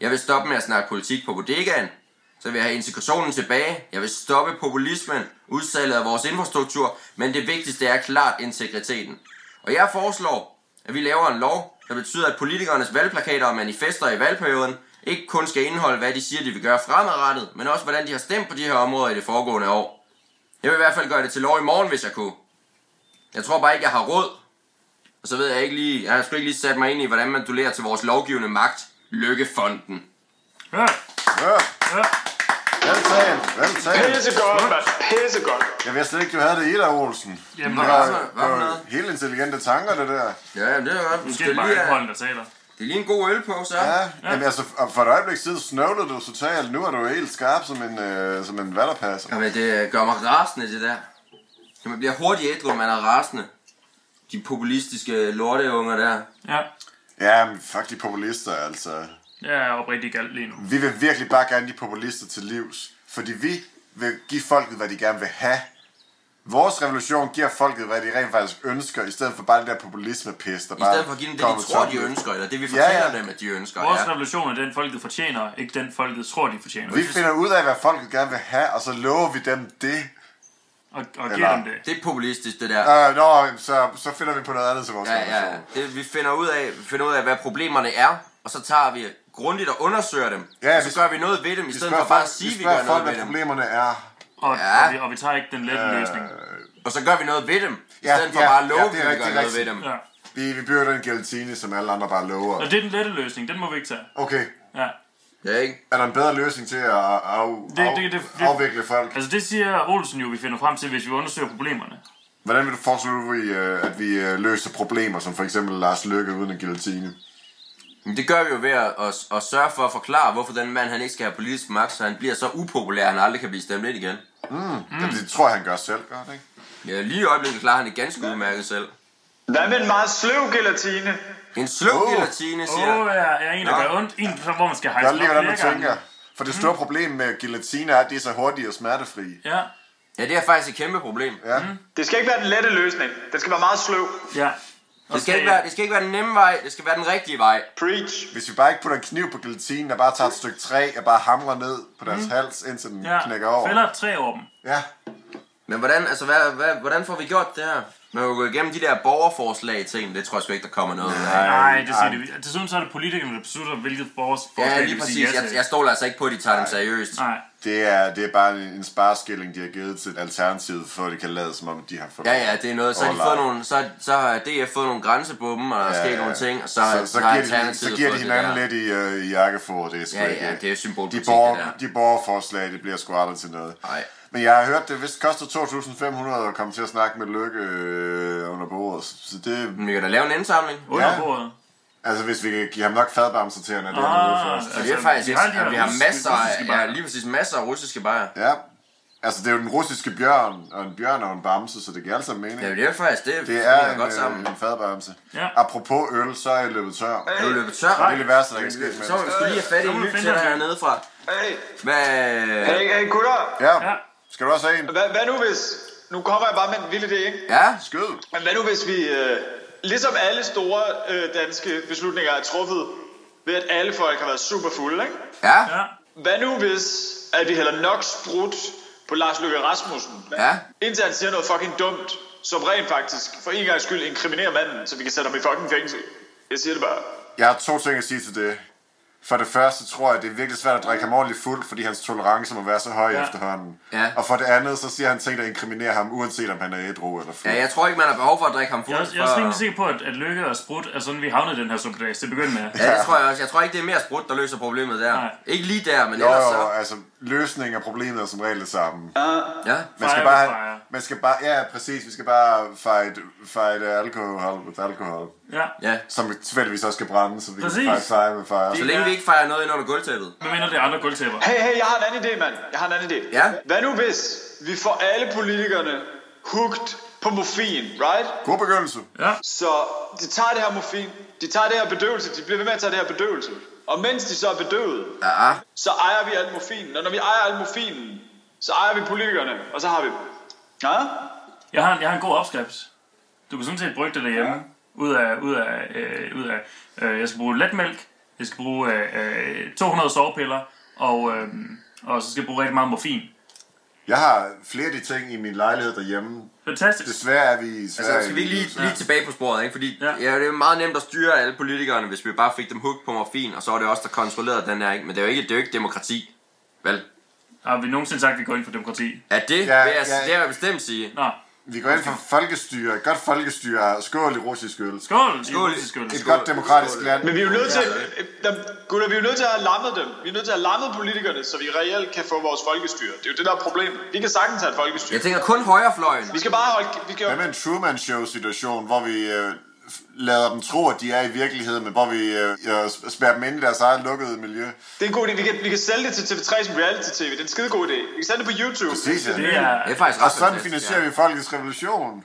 Speaker 1: Jeg vil stoppe med at snakke politik på bodegaen. Så vil jeg have integrationen tilbage. Jeg vil stoppe populismen, udsalget af vores infrastruktur. Men det vigtigste er klart integriteten. Og jeg foreslår, at vi laver en lov, der betyder, at politikernes valgplakater og manifester i valgperioden ikke kun skal indeholde, hvad de siger, de vil gøre fremadrettet, men også, hvordan de har stemt på de her områder i det foregående år. Jeg vil i hvert fald gøre det til lov i morgen, hvis jeg kunne. Jeg tror bare ikke, jeg har råd, og så ved jeg ikke lige, jeg har sgu ikke lige sat mig ind i, hvordan man dulerer til vores lovgivende magt, Lykkefonden.
Speaker 4: Ja,
Speaker 2: Ja,
Speaker 4: ja.
Speaker 2: veltalt, veltalt.
Speaker 3: Pissegodt, mand. Pissegodt.
Speaker 2: Jeg vidste ikke, du havde det i dig, Olsen.
Speaker 4: Jamen,
Speaker 2: det
Speaker 4: altså,
Speaker 2: var,
Speaker 1: hvad for
Speaker 2: det var
Speaker 1: noget?
Speaker 2: helt intelligente tanker, det der.
Speaker 1: Ja, jamen, det er godt. Du
Speaker 4: Måske
Speaker 1: skal
Speaker 4: er
Speaker 1: lige
Speaker 4: det bare
Speaker 1: have,
Speaker 4: alkoholen, der taler.
Speaker 1: det er lige en god øl på, så.
Speaker 2: Ja, Jamen, altså, for et øjeblik siden snøvlede du totalt. Nu er du helt skarp som en, øh, som en vatterpasser.
Speaker 1: Jamen, det øh, gør mig rasende, det der. Når man bliver hurtigt ædru, man er rasende. De populistiske lorteunger der.
Speaker 4: Ja,
Speaker 2: Ja, men fuck de populister, altså.
Speaker 4: jeg er oprigtig galt lige nu.
Speaker 2: Vi vil virkelig bare gerne de populister til livs. Fordi vi vil give folket, hvad de gerne vil have. Vores revolution giver folket, hvad de rent faktisk ønsker, i stedet for bare det der populisme-pis, der
Speaker 1: I stedet for at give dem det, de tror, de ønsker, eller det, vi fortæller ja,
Speaker 2: ja.
Speaker 1: ja. dem, at de ønsker.
Speaker 4: Vores
Speaker 1: Ja.
Speaker 4: revolution er den, folket fortjener, ikke den, folket tror, de fortjener.
Speaker 2: Vi finder ud af, hvad folket gerne vil have, og så lover vi dem det.
Speaker 4: Og, og giver
Speaker 2: Eller-
Speaker 4: dem det.
Speaker 1: Det er populistisk, det der.
Speaker 2: Øh, nå, så, så finder vi på noget andet til vores
Speaker 1: Ja, ja.
Speaker 2: revolution.
Speaker 1: Det, vi finder ud, af, vi finder ud af, hvad problemerne er, og så tager vi grundigt og undersøger dem.
Speaker 2: Ja,
Speaker 1: Ja, og
Speaker 2: vi-
Speaker 1: så gør vi noget ved dem, i
Speaker 2: Vi
Speaker 1: stedet
Speaker 2: spørger
Speaker 1: for bare
Speaker 2: folk,
Speaker 1: at sige,
Speaker 2: vi
Speaker 1: at vi
Speaker 2: spørger
Speaker 1: gør noget
Speaker 2: folk
Speaker 1: ved
Speaker 2: hvad
Speaker 1: dem.
Speaker 2: problemerne er.
Speaker 4: Og,
Speaker 1: Ja. Øh.
Speaker 4: og, vi, og vi tager ikke den lette løsning.
Speaker 1: Og så gør vi noget ved dem, i
Speaker 2: Ja,
Speaker 1: stedet for
Speaker 2: ja,
Speaker 1: bare at
Speaker 2: ja,
Speaker 1: love,
Speaker 2: det er
Speaker 1: at vi
Speaker 2: rigtigt,
Speaker 1: gør noget
Speaker 2: rigtigt.
Speaker 1: ved dem.
Speaker 4: Ja.
Speaker 2: Vi, vi bygger den gelatine, som alle andre bare lover.
Speaker 4: Og det er den lette løsning, den må vi ikke tage.
Speaker 2: Okay,
Speaker 4: Ja.
Speaker 1: Ja, ikke?
Speaker 2: er der en bedre løsning til at af, af,
Speaker 4: det- det- det-
Speaker 2: afvikle folk?
Speaker 4: Altså det siger Olsen jo, vi finder frem til, hvis vi undersøger problemerne.
Speaker 2: Hvordan vil du foreslå, at vi, øh, at vi øh, løser problemer, som for eksempel Lars Løkke uden en gelatine?
Speaker 1: Men det gør vi jo ved at, at, at sørge for at forklare, hvorfor den mand han ikke skal have politisk magt, så han bliver så upopulær, at han aldrig kan blive stemt ind igen.
Speaker 2: Mm. Det, det tror jeg, han gør selv, gør det ikke?
Speaker 1: Ja, lige i øjeblikket klarer han det ganske udmærket selv.
Speaker 3: Hvad med en meget sløv gelatine?
Speaker 1: En sluk
Speaker 2: Åh.
Speaker 1: gelatine,
Speaker 4: Åh,
Speaker 1: siger
Speaker 4: oh,
Speaker 1: oh.
Speaker 4: ja, er en, der
Speaker 1: Nå.
Speaker 4: gør ondt, en, som- hvor man skal
Speaker 2: Gør
Speaker 4: hejse
Speaker 2: lige, hvordan du
Speaker 4: flere gange. Mm.
Speaker 2: tænker. For det store problem med gelatine er, at de er så hurtige og smertefrie.
Speaker 4: Ja,
Speaker 1: Ja, det er faktisk et kæmpe problem.
Speaker 2: Ja.
Speaker 4: Mm.
Speaker 3: Det skal ikke være den lette løsning. Den skal være meget sløv.
Speaker 4: ja. Og
Speaker 1: Det skal, ikke være, det skal ikke være den nemme vej, det skal være den rigtige vej.
Speaker 3: Preach.
Speaker 2: Hvis vi bare ikke putter en kniv på gelatinen, og bare tager et stykke træ og bare hamrer ned på deres mm. hals, indtil den
Speaker 4: Mhm. ja.
Speaker 2: ja. knækker over.
Speaker 4: Fælder et træ over dem.
Speaker 2: Ja.
Speaker 1: Men hvordan, altså, hvad, hvad, hvordan får vi gjort det her? Man kan jo gå igennem de der borgerforslag ting, det tror jeg sgu ikke, der kommer noget ud af.
Speaker 4: Nej, det siger det. Desuden så er det politikerne, der beslutter, hvilket vores forslag,
Speaker 1: Ja,
Speaker 4: de
Speaker 1: lige
Speaker 4: vil sige
Speaker 1: præcis. Jeg,
Speaker 4: til.
Speaker 1: jeg stoler altså ikke på, at de tager dem seriøst.
Speaker 4: Nej.
Speaker 2: Det er, det er bare en, en spareskilling, de har givet til Alternativet, for at de kan lade, som om de har fået
Speaker 1: Ja, ja, det er noget. Så har, de
Speaker 2: overlejet.
Speaker 1: fået nogle, så, så har DF fået nogle grænser på dem, og der er sket nogle ting, og så,
Speaker 2: så, så,
Speaker 1: har
Speaker 2: giver, de,
Speaker 1: Alternativet
Speaker 2: så giver de
Speaker 1: fået det
Speaker 2: hinanden
Speaker 1: der.
Speaker 2: lidt i, øh, i jakkefor, det er sgu
Speaker 1: Ja,
Speaker 2: ikke-
Speaker 1: ja, det er symbolpolitik,
Speaker 2: de, borger,
Speaker 1: det der.
Speaker 2: de borgerforslag, det bliver sgu aldrig til noget.
Speaker 1: Nej.
Speaker 2: Men jeg har hørt, det vist koster 2.500 at komme til at snakke med Lykke øh, under bordet. Så det,
Speaker 1: Men vi kan da lave en indsamling.
Speaker 4: Under
Speaker 2: Ja.
Speaker 4: bordet.
Speaker 2: altså hvis vi kan give ham nok fadbamser til, at han er
Speaker 4: Ah,
Speaker 2: ah, først.
Speaker 1: Så det
Speaker 4: altså,
Speaker 1: er faktisk,
Speaker 4: vi
Speaker 1: vi
Speaker 4: har
Speaker 1: har,
Speaker 4: de her
Speaker 1: vi har
Speaker 4: russiske-
Speaker 1: masser af,
Speaker 4: russiske bajer.
Speaker 1: ja, lige præcis masser af russiske bajer.
Speaker 2: Ja. Altså, det er jo den russiske bjørn, og en bjørn og en bamse, så det giver alt sammen mening.
Speaker 1: Ja, det er faktisk, det,
Speaker 2: det er
Speaker 1: hænger
Speaker 2: en,
Speaker 1: godt
Speaker 2: øh,
Speaker 1: sammen.
Speaker 2: en fadbamse.
Speaker 4: Ja.
Speaker 2: Apropos øl, så er jeg løbet tør. Det
Speaker 1: Er du løbet
Speaker 2: er
Speaker 1: tør?
Speaker 2: det værste, der kan ske.
Speaker 1: Så må vi
Speaker 2: mennesker.
Speaker 1: skulle lige have fat i
Speaker 4: Så
Speaker 1: en
Speaker 4: må vi
Speaker 1: ny
Speaker 4: finde
Speaker 1: til
Speaker 4: os en.
Speaker 1: hernede fra.
Speaker 3: Hey,
Speaker 1: Hvad...
Speaker 3: hey, hey gutter.
Speaker 2: Ja.
Speaker 4: Ja.
Speaker 2: Skal du også have en?
Speaker 3: Hvad, hvad nu hvis... Nu kommer jeg bare med en vild idé, ikke?
Speaker 1: Ja,
Speaker 2: Skød.
Speaker 3: Men hvad nu hvis vi, øh, ligesom alle store øh, danske beslutninger er truffet ved, at alle folk har været super fulde, ikke?
Speaker 1: ja,
Speaker 4: Ja.
Speaker 3: Hvad nu hvis, at vi hælder nok sprut på Lars Løkke Rasmussen?
Speaker 1: Ja.
Speaker 3: Indtil han siger noget fucking dumt, som rent faktisk for en gang skyld inkriminerer manden, så vi kan sætte ham i fucking fængsel. Jeg siger det bare.
Speaker 2: Jeg har to ting at sige til det. For det første tror jeg, det er virkelig svært at drikke ham ordentligt fuld, fordi hans tolerance må være så høj
Speaker 4: Ja.
Speaker 2: ja. efterhånden.
Speaker 1: Ja.
Speaker 2: Og for det andet, så siger han ting, der inkriminerer ham, uanset om han er ædru eller fuld.
Speaker 1: ja, jeg tror ikke, man har behov for at drikke ham fuld.
Speaker 4: Jeg er, jeg er
Speaker 1: for-
Speaker 4: også rimelig sikker på, at, at Lykke og Sprut er sådan, vi havnede i den her suppedags til at begynde med.
Speaker 1: Ja, det tror jeg også. Jeg tror ikke, det er mere sprut, der løser problemet der.
Speaker 4: Nej.
Speaker 1: Ikke lige der, men
Speaker 2: Jo,
Speaker 1: ellers
Speaker 2: jo,
Speaker 1: så.
Speaker 2: altså løsningen af problemet er som regel det samme.
Speaker 1: Ja.
Speaker 2: Man skal
Speaker 4: Fejre med
Speaker 2: bare,
Speaker 4: fejre.
Speaker 2: man skal bare, ja præcis, vi skal bare fight, fight alkohol med alkohol,
Speaker 4: Ja.
Speaker 1: Ja.
Speaker 2: som tilfældigvis også skal brænde, så vi
Speaker 4: Præcis.
Speaker 2: kan fight fire med fire.
Speaker 1: Så længe vi ikke fejrer noget ind under gulvtæppet.
Speaker 4: Hvad mener det er andre gulvtæpper?
Speaker 3: Hey, hey, jeg har en anden idé, mand. Jeg har en anden idé.
Speaker 1: Ja.
Speaker 3: Hvad nu hvis vi får alle politikerne hooked på morfin, right?
Speaker 2: God begyndelse.
Speaker 4: Ja.
Speaker 3: Så de tager det her morfin, de tager det her bedøvelse, de bliver ved med at tage det her bedøvelse. Og mens de så er bedøvet,
Speaker 1: Ja.
Speaker 3: så ejer vi al morfinen. Og når vi ejer al morfinen, så ejer vi politikerne, og så har vi dem. Ja?
Speaker 4: Jeg har, en, jeg har en god opskrift. Du kan sådan set brygge det derhjemme. Ja. Ud af, ud af, øh, ud af øh, jeg skal bruge letmælk, jeg skal bruge øh, øh, 200 sovepiller, og, øh, og så skal jeg bruge rigtig meget morfin.
Speaker 2: Jeg har flere af de ting i min lejlighed derhjemme.
Speaker 4: Fantastisk.
Speaker 2: Desværre er vi i Sverige.
Speaker 1: Altså, skal vi ikke lige, lige tilbage på sporet, ikke? Fordi
Speaker 4: Ja.
Speaker 1: ja. Ja, det er jo meget nemt at styre alle politikerne, hvis vi bare fik dem hooked på morfin, og så var det os, der kontrollerede den her, ikke? Men det er jo ikke, det er jo ikke demokrati, vel?
Speaker 4: Har vi nogensinde sagt, at vi går ind for demokrati?
Speaker 1: Er det,
Speaker 2: Ja,
Speaker 1: ja, vil jeg,
Speaker 2: ja.
Speaker 1: ja. det vil jeg bestemt sige.
Speaker 4: Nå,
Speaker 2: Vi går ind for folkestyre. Et godt folkestyre. Skål i russisk øl. Et
Speaker 4: skål!
Speaker 1: Skål.
Speaker 4: I skål.
Speaker 1: Skål.
Speaker 2: godt demokratisk
Speaker 1: Skål.
Speaker 2: land.
Speaker 3: Men vi er jo nødt til, der, gutter, vi er jo nødt til at have lammet dem. Vi er nødt til at have lammet politikerne, så vi reelt kan få vores folkestyre. Det er jo det, der er problemet. Vi kan sagtens have et folkestyre.
Speaker 1: Jeg tænker kun højrefløjen.
Speaker 3: Vi skal bare holde... Vi
Speaker 2: Hvad
Speaker 3: skal,
Speaker 2: med en Truman Show situation, hvor vi øh, f- lader dem tro, at de er i virkeligheden, men hvor vi øh, øh, sp- spærrer dem ind i deres eget lukkede miljø?
Speaker 3: det er en god idé. Vi kan, vi kan sælge det til TV3 som reality-tv. Det er en skide god idé. Vi kan sælge det på YouTube.
Speaker 2: Præcis, ja.
Speaker 4: Det er,
Speaker 1: Det er faktisk
Speaker 2: Altså, Og
Speaker 1: ret
Speaker 2: sådan
Speaker 1: fantastisk,
Speaker 2: finansierer
Speaker 1: ja.
Speaker 2: vi folkets revolution.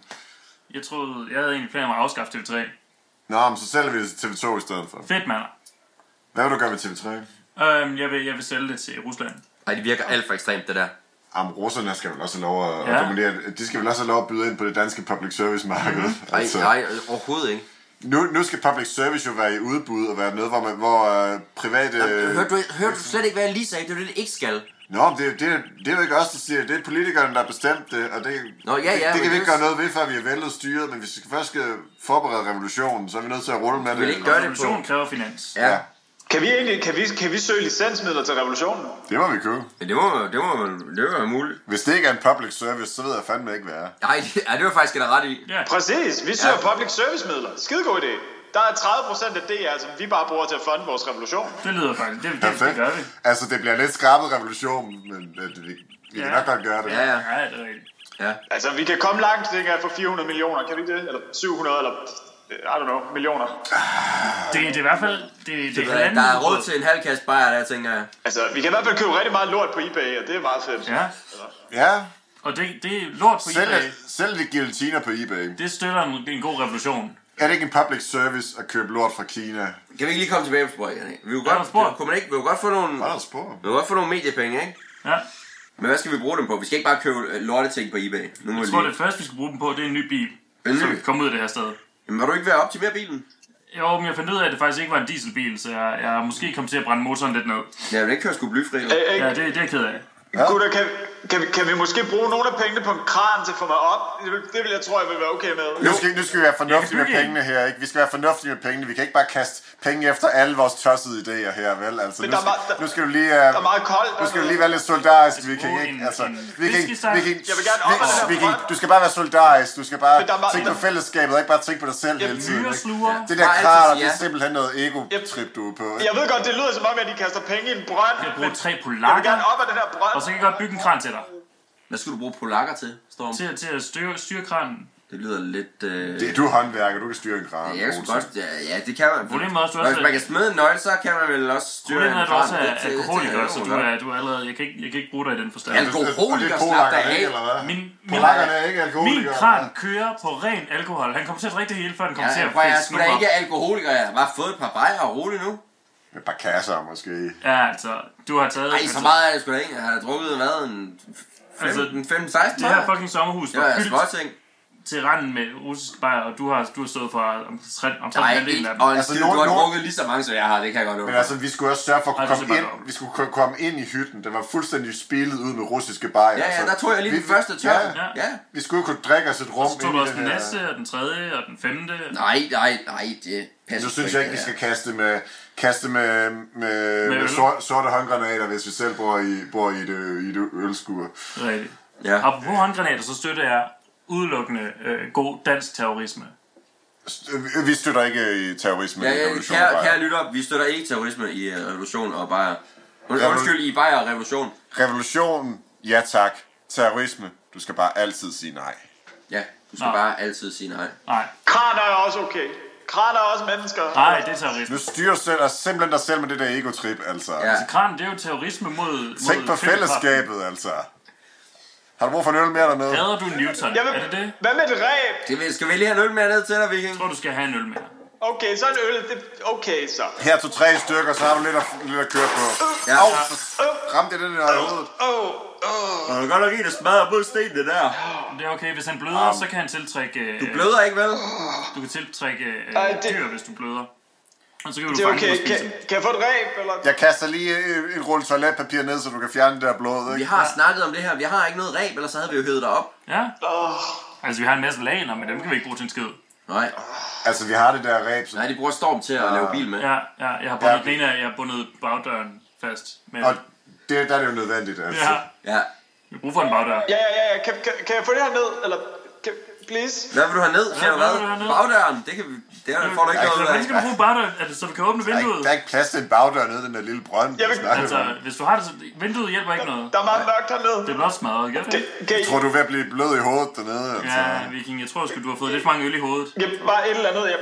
Speaker 4: jeg troede, jeg havde egentlig planer om at afskaffe TV3.
Speaker 2: Nå, men så sælger vi det til TV2 i stedet for.
Speaker 4: Fedt, mand.
Speaker 2: Hvad vil du gøre med TV3?
Speaker 4: Øhm, jeg, vil, jeg vil sælge det til Rusland.
Speaker 1: Ej, det virker alt for ekstremt, det der.
Speaker 2: Jamen, russerne skal vel også have lov at, ja.
Speaker 4: Ja.
Speaker 2: at dominere. De skal vel også have lov at byde ind på det danske public service marked. Mm.
Speaker 1: Nej, nej, overhovedet ikke.
Speaker 2: Nu, nu skal public service jo være i udbud og være noget, hvor, man, hvor øh, private...
Speaker 1: Hørte du, hørte du slet ikke, hvad jeg lige sagde? Det er jo det, det ikke skal.
Speaker 2: Nå, men det, det, det er jo ikke os, der siger det. Det er politikerne, der har bestemt det, og det,
Speaker 1: Nå, ja, ja,
Speaker 2: det, det
Speaker 1: men
Speaker 2: kan vi
Speaker 1: det-
Speaker 2: ikke gøre noget ved, før vi har væltet styret. Men hvis vi først skal forberede revolutionen, så er vi nødt til at rulle med det.
Speaker 1: Vil ikke gøre det
Speaker 4: Revolution
Speaker 1: på...
Speaker 4: kræver finans. Ja.
Speaker 1: Ja,
Speaker 3: Kan vi, egentlig, kan, vi, kan vi søge licensmidler til revolutionen?
Speaker 2: Det må vi købe.
Speaker 1: men det må, det må, det må være muligt.
Speaker 2: Hvis det ikke er en public service, så ved jeg fandme ikke, hvad det er.
Speaker 1: Nej, det, ja, det var faktisk det, der er ret i.
Speaker 3: Præcis, vi søger ja. public service midler. Skidegod idé. Der er 30% af DR, som vi bare bruger til at fonde vores revolution.
Speaker 4: Det lyder faktisk. Det, det, det
Speaker 2: Perfekt.
Speaker 4: gør vi.
Speaker 2: Altså, det bliver lidt skrabet revolution, men øh, det, vi, vi ja. kan
Speaker 4: Ja.
Speaker 2: nok godt gøre det.
Speaker 1: Ja, ja,
Speaker 4: Ja, det er rigtigt.
Speaker 1: ja.
Speaker 3: Altså, vi kan komme langt, tænker jeg, for 400 millioner, kan vi ikke det? Eller 700, eller øh, I don't know, millioner.
Speaker 4: Det, det er i hvert fald... Det, det, det er
Speaker 1: Der,
Speaker 4: halvanden
Speaker 1: der er råd
Speaker 4: ubåd.
Speaker 1: til en halv kasse bajer der, tænker jeg.
Speaker 3: Altså, vi kan i hvert fald købe rigtig meget lort på eBay, og det er meget fedt.
Speaker 4: Ja,
Speaker 2: ja.
Speaker 4: og det, det er lort på
Speaker 2: Selv,
Speaker 4: eBay.
Speaker 2: selv de guillotiner på eBay.
Speaker 4: Det støtter en, en god revolution.
Speaker 2: Er det ikke en public service at købe lort fra Kina?
Speaker 1: Kan vi ikke lige komme tilbage på sporet, Janne? Vi kunne
Speaker 4: Ja,
Speaker 1: godt,
Speaker 4: på sporet.
Speaker 1: kunne man ikke, vi kunne godt få nogle,
Speaker 2: Hvad er der spor?
Speaker 1: vi kunne godt få nogle mediepenge, ikke?
Speaker 4: Ja.
Speaker 1: Men hvad skal vi bruge dem på? Vi skal ikke bare købe øh, lorteting på eBay. Nu må
Speaker 4: Jeg
Speaker 1: vi
Speaker 4: tror,
Speaker 1: lige.
Speaker 4: det første, vi skal bruge dem på, det er en ny bil.
Speaker 1: En ny?
Speaker 4: Så vi kan komme ud af det her sted.
Speaker 1: Jamen, var du ikke ved at optimere bilen?
Speaker 4: Jo, men jeg fandt ud af, at det faktisk ikke var en dieselbil, så jeg, jeg måske kom til at brænde motoren lidt ned.
Speaker 1: Ja, men ikke køre skulle blyfri. jo.
Speaker 3: Æ, æ,
Speaker 4: Ja, det, det er jeg ked af.
Speaker 3: ja. Gutter, kan, kan, vi, kan vi måske bruge nogle af pengene på en kran til at få mig op? Det, vil- det vil jeg tro, jeg vil være okay med.
Speaker 2: Nu skal, nu skal vi være fornuftige med
Speaker 4: bygge en.
Speaker 2: pengene her, ikke? Vi skal være fornuftige med pengene. Vi kan ikke bare kaste penge efter alle vores tossede idéer her, vel? Altså, nu,
Speaker 3: der er
Speaker 2: skal,
Speaker 3: meget- der-
Speaker 2: nu skal du lige... Uh,
Speaker 3: Der er meget koldt.
Speaker 2: nu skal du lige være lidt solidarisk, vi
Speaker 4: bruge
Speaker 2: kan ikke,
Speaker 4: en-
Speaker 2: altså,
Speaker 4: en
Speaker 2: vi kan ikke,
Speaker 4: fiskestang.
Speaker 2: vi kan ikke,
Speaker 3: Jeg vil gerne op ad den her
Speaker 2: vi, vi kan ikke,
Speaker 3: front.
Speaker 2: du skal bare være solidarisk, du skal bare
Speaker 3: Men der er meget-
Speaker 2: tænke på
Speaker 3: der-
Speaker 2: fællesskabet, og ikke bare tænke på dig selv hele tiden, ikke?
Speaker 4: Myresluger.
Speaker 2: Det der
Speaker 1: Bare altid
Speaker 2: krater,
Speaker 1: sige
Speaker 2: det er
Speaker 1: ja.
Speaker 2: simpelthen noget ego-trip, du er på, ikke?
Speaker 3: Jeg ved godt, det lyder som om, at de kaster penge i en brønd.
Speaker 4: Jeg bruger tre
Speaker 3: Jeg vil gerne
Speaker 4: polakker,
Speaker 3: op af den her brønd.
Speaker 4: og så kan jeg godt bygge en kran til dig.
Speaker 1: Hvad skulle du bruge polakker til, Storm?
Speaker 4: Til, til at styre, styre kranen.
Speaker 1: Det lyder lidt... Øh...
Speaker 2: Det, du er håndværker, du kan styre en kran.
Speaker 1: Ja, jeg skulle
Speaker 2: Olsen.
Speaker 1: godt, ja, ja, det kan man.
Speaker 4: Problemet er også, du
Speaker 1: Og
Speaker 4: også
Speaker 1: Hvis man kan smide en nøgle, så kan man vel også styre
Speaker 4: Problemet er, at du også
Speaker 1: kran. Det-
Speaker 4: er
Speaker 1: det- det-
Speaker 4: alkoholiker,
Speaker 1: det-
Speaker 4: så du er, du er allerede... Jeg kan, ikke, jeg kan ikke bruge dig i den forstand.
Speaker 2: Og det er
Speaker 1: Alkoholiker, slap dig
Speaker 2: polakkerne,
Speaker 1: af.
Speaker 2: ikke, eller hvad?
Speaker 4: Min, min,
Speaker 2: Polakkerne er ikke alkoholikere.
Speaker 4: min kran kører på ren alkohol. Han kommer til at drikke det hele, før han
Speaker 1: Ja,
Speaker 4: kommer til
Speaker 1: jeg,
Speaker 4: at
Speaker 1: prøver, jeg er
Speaker 4: fisse
Speaker 1: sgu da
Speaker 4: snuer.
Speaker 1: ikke alkoholiker, jeg har bare fået et par bajer og rolig nu.
Speaker 2: Med et par kasser, måske.
Speaker 4: Ja, altså, du har taget...
Speaker 1: Ej, så meget er det sgu da ikke. Jeg har da drukket, hvad, en
Speaker 4: Altså,
Speaker 1: 15-16
Speaker 4: Det her
Speaker 1: bajer?
Speaker 4: fucking sommerhus
Speaker 1: Det
Speaker 4: var
Speaker 1: var
Speaker 4: fyldt
Speaker 1: småting.
Speaker 4: til randen med russisk bajer, og du har, du har stået for om tre, om tre
Speaker 1: Nej,
Speaker 4: halvdelen af
Speaker 1: ikke.
Speaker 4: dem.
Speaker 1: Og en
Speaker 2: Altså,
Speaker 1: skid,
Speaker 2: nogen-
Speaker 1: du har
Speaker 2: nogen-
Speaker 1: drukket lige så mange, som jeg har. Det kan jeg godt love.
Speaker 2: Men altså, vi skulle også sørge for at kunne
Speaker 4: Ej, det
Speaker 2: komme
Speaker 4: ser
Speaker 2: ind,
Speaker 4: bare godt
Speaker 2: vi skulle kunne komme ind i hytten. Den var fuldstændig spillet ud med russiske bajer.
Speaker 1: Ja, ja,
Speaker 2: så
Speaker 1: der tog jeg lige
Speaker 2: altså, vi-
Speaker 1: den første tør.
Speaker 2: Ja,
Speaker 1: Ja. ja.
Speaker 2: vi skulle jo kunne drikke os et rum
Speaker 4: Så tog du også den næste, og den tredje, og den femte.
Speaker 1: Nej, nej, nej, det passer
Speaker 2: Nu synes jeg ikke, vi skal kaste med, kaste med, med, med
Speaker 4: øl.
Speaker 2: sort, sorte håndgranater, hvis vi selv bor i, bor i et, øh, i et ølskur.
Speaker 4: Rigtigt.
Speaker 1: Ja.
Speaker 4: Apropos håndgranater, så støtter jeg udelukkende øh, god dansk terrorisme.
Speaker 2: St- Vi støtter ikke øh, i terrorisme
Speaker 1: Ja,
Speaker 2: i
Speaker 1: ja,
Speaker 2: revolution.
Speaker 1: kære,
Speaker 2: Bajer.
Speaker 1: kære lytter, vi støtter ikke terrorisme i øh, revolution og bajer. Und- Undskyld, i bajer og revolution.
Speaker 2: Revolution, ja tak. Terrorisme, du skal bare altid sige nej.
Speaker 1: Ja, du skal
Speaker 4: Nå.
Speaker 1: bare altid sige nej.
Speaker 4: Nej,
Speaker 3: Kraner er også okay. Kraner er også mennesker.
Speaker 4: nej, det er terrorisme.
Speaker 2: Nu styrer du selv, og simpelthen dig selv med det der egotrip, altså.
Speaker 1: Ja.
Speaker 4: Kran, det er jo terrorisme mod... mod
Speaker 2: Tænk på
Speaker 4: tyngdekraften.
Speaker 2: fællesskabet, altså. Har du brug for en øl mere dernede?
Speaker 4: Hader du Newton?
Speaker 3: Jeg vil...
Speaker 4: Er det det?
Speaker 3: Hvad med et ræb?
Speaker 1: Skal vi, skal vi lige have en øl mere ned til dig, Viking?
Speaker 4: Jeg tror, du skal have en øl mere.
Speaker 3: Okay, så en øl. Det... Okay, så.
Speaker 2: Her to tre stykker, så har du lidt at, lidt at køre på.
Speaker 1: Ja.
Speaker 2: Au, for- ramte jeg den der i hovedet?
Speaker 3: Åh, oh, åh. Oh.
Speaker 1: Og du godt nok en, der smadrer både stenene der.
Speaker 4: Det er okay, hvis han bløder, så kan han tiltrække... øh,
Speaker 1: Bløder ikke, vel?
Speaker 4: Du kan tiltrække øh,
Speaker 3: Ej, det-
Speaker 4: dyr, hvis du bløder. Og så kan du
Speaker 3: Det er
Speaker 4: fange
Speaker 3: okay.
Speaker 4: dem og
Speaker 3: Kan,
Speaker 4: spise dem.
Speaker 3: kan jeg få et ræb? Eller...
Speaker 2: Jeg kaster lige øh, en rulle toiletpapir ned, så du kan fjerne det der blod,
Speaker 1: Vi
Speaker 2: ikke?
Speaker 1: har snakket om det her. Vi har ikke noget ræb, ellers så havde vi jo hævet dig op.
Speaker 4: Ja,
Speaker 3: Åh.
Speaker 4: altså vi har en masse laner, men dem kan vi ikke bruge til en skid.
Speaker 1: Nej,
Speaker 2: Altså, vi har det der ræb, så...
Speaker 1: nej, de bruger storm til at lave bil med.
Speaker 4: Ja, ja, jeg har
Speaker 2: Ja.
Speaker 4: bundet ja. den ene af, jeg har bundet bagdøren fast. Men
Speaker 2: Og det, der er det jo nødvendigt, altså.
Speaker 4: ja,
Speaker 1: Ja.
Speaker 4: vi har brug for en bagdør.
Speaker 3: Ja, ja, ja. ja. Kan, kan, kan jeg få det her ned? Eller... Kan, please?
Speaker 1: Hvad vil du have ned? Siger du
Speaker 4: hvad
Speaker 1: hvad?
Speaker 4: vil du have ned?
Speaker 1: Bagdøren, det, kan vi, det her får du ikke noget ud
Speaker 4: Så
Speaker 1: af.
Speaker 4: hvordan skal du bruge bagdøren? Er det, så du kan åbne
Speaker 2: Der er, ikke,
Speaker 4: vinduet?
Speaker 2: der er ikke plads til en bagdør nede i den der lille brønd.
Speaker 3: Jeg vil-
Speaker 2: vi snakker
Speaker 4: Altså,
Speaker 2: om.
Speaker 4: hvis du har det, så... Vinduet hjælper ikke noget.
Speaker 3: Der er meget mørkt hernede.
Speaker 4: Det er blot smadret, gør det?
Speaker 3: Kan,
Speaker 4: ikke?
Speaker 3: kan I...
Speaker 2: Tror du er ved at blive blød i hovedet dernede? Altså.
Speaker 4: Ja, Viking, jeg tror sgu, du har fået lidt for mange øl i hovedet.
Speaker 3: Jeg, bare et eller andet. Jeg,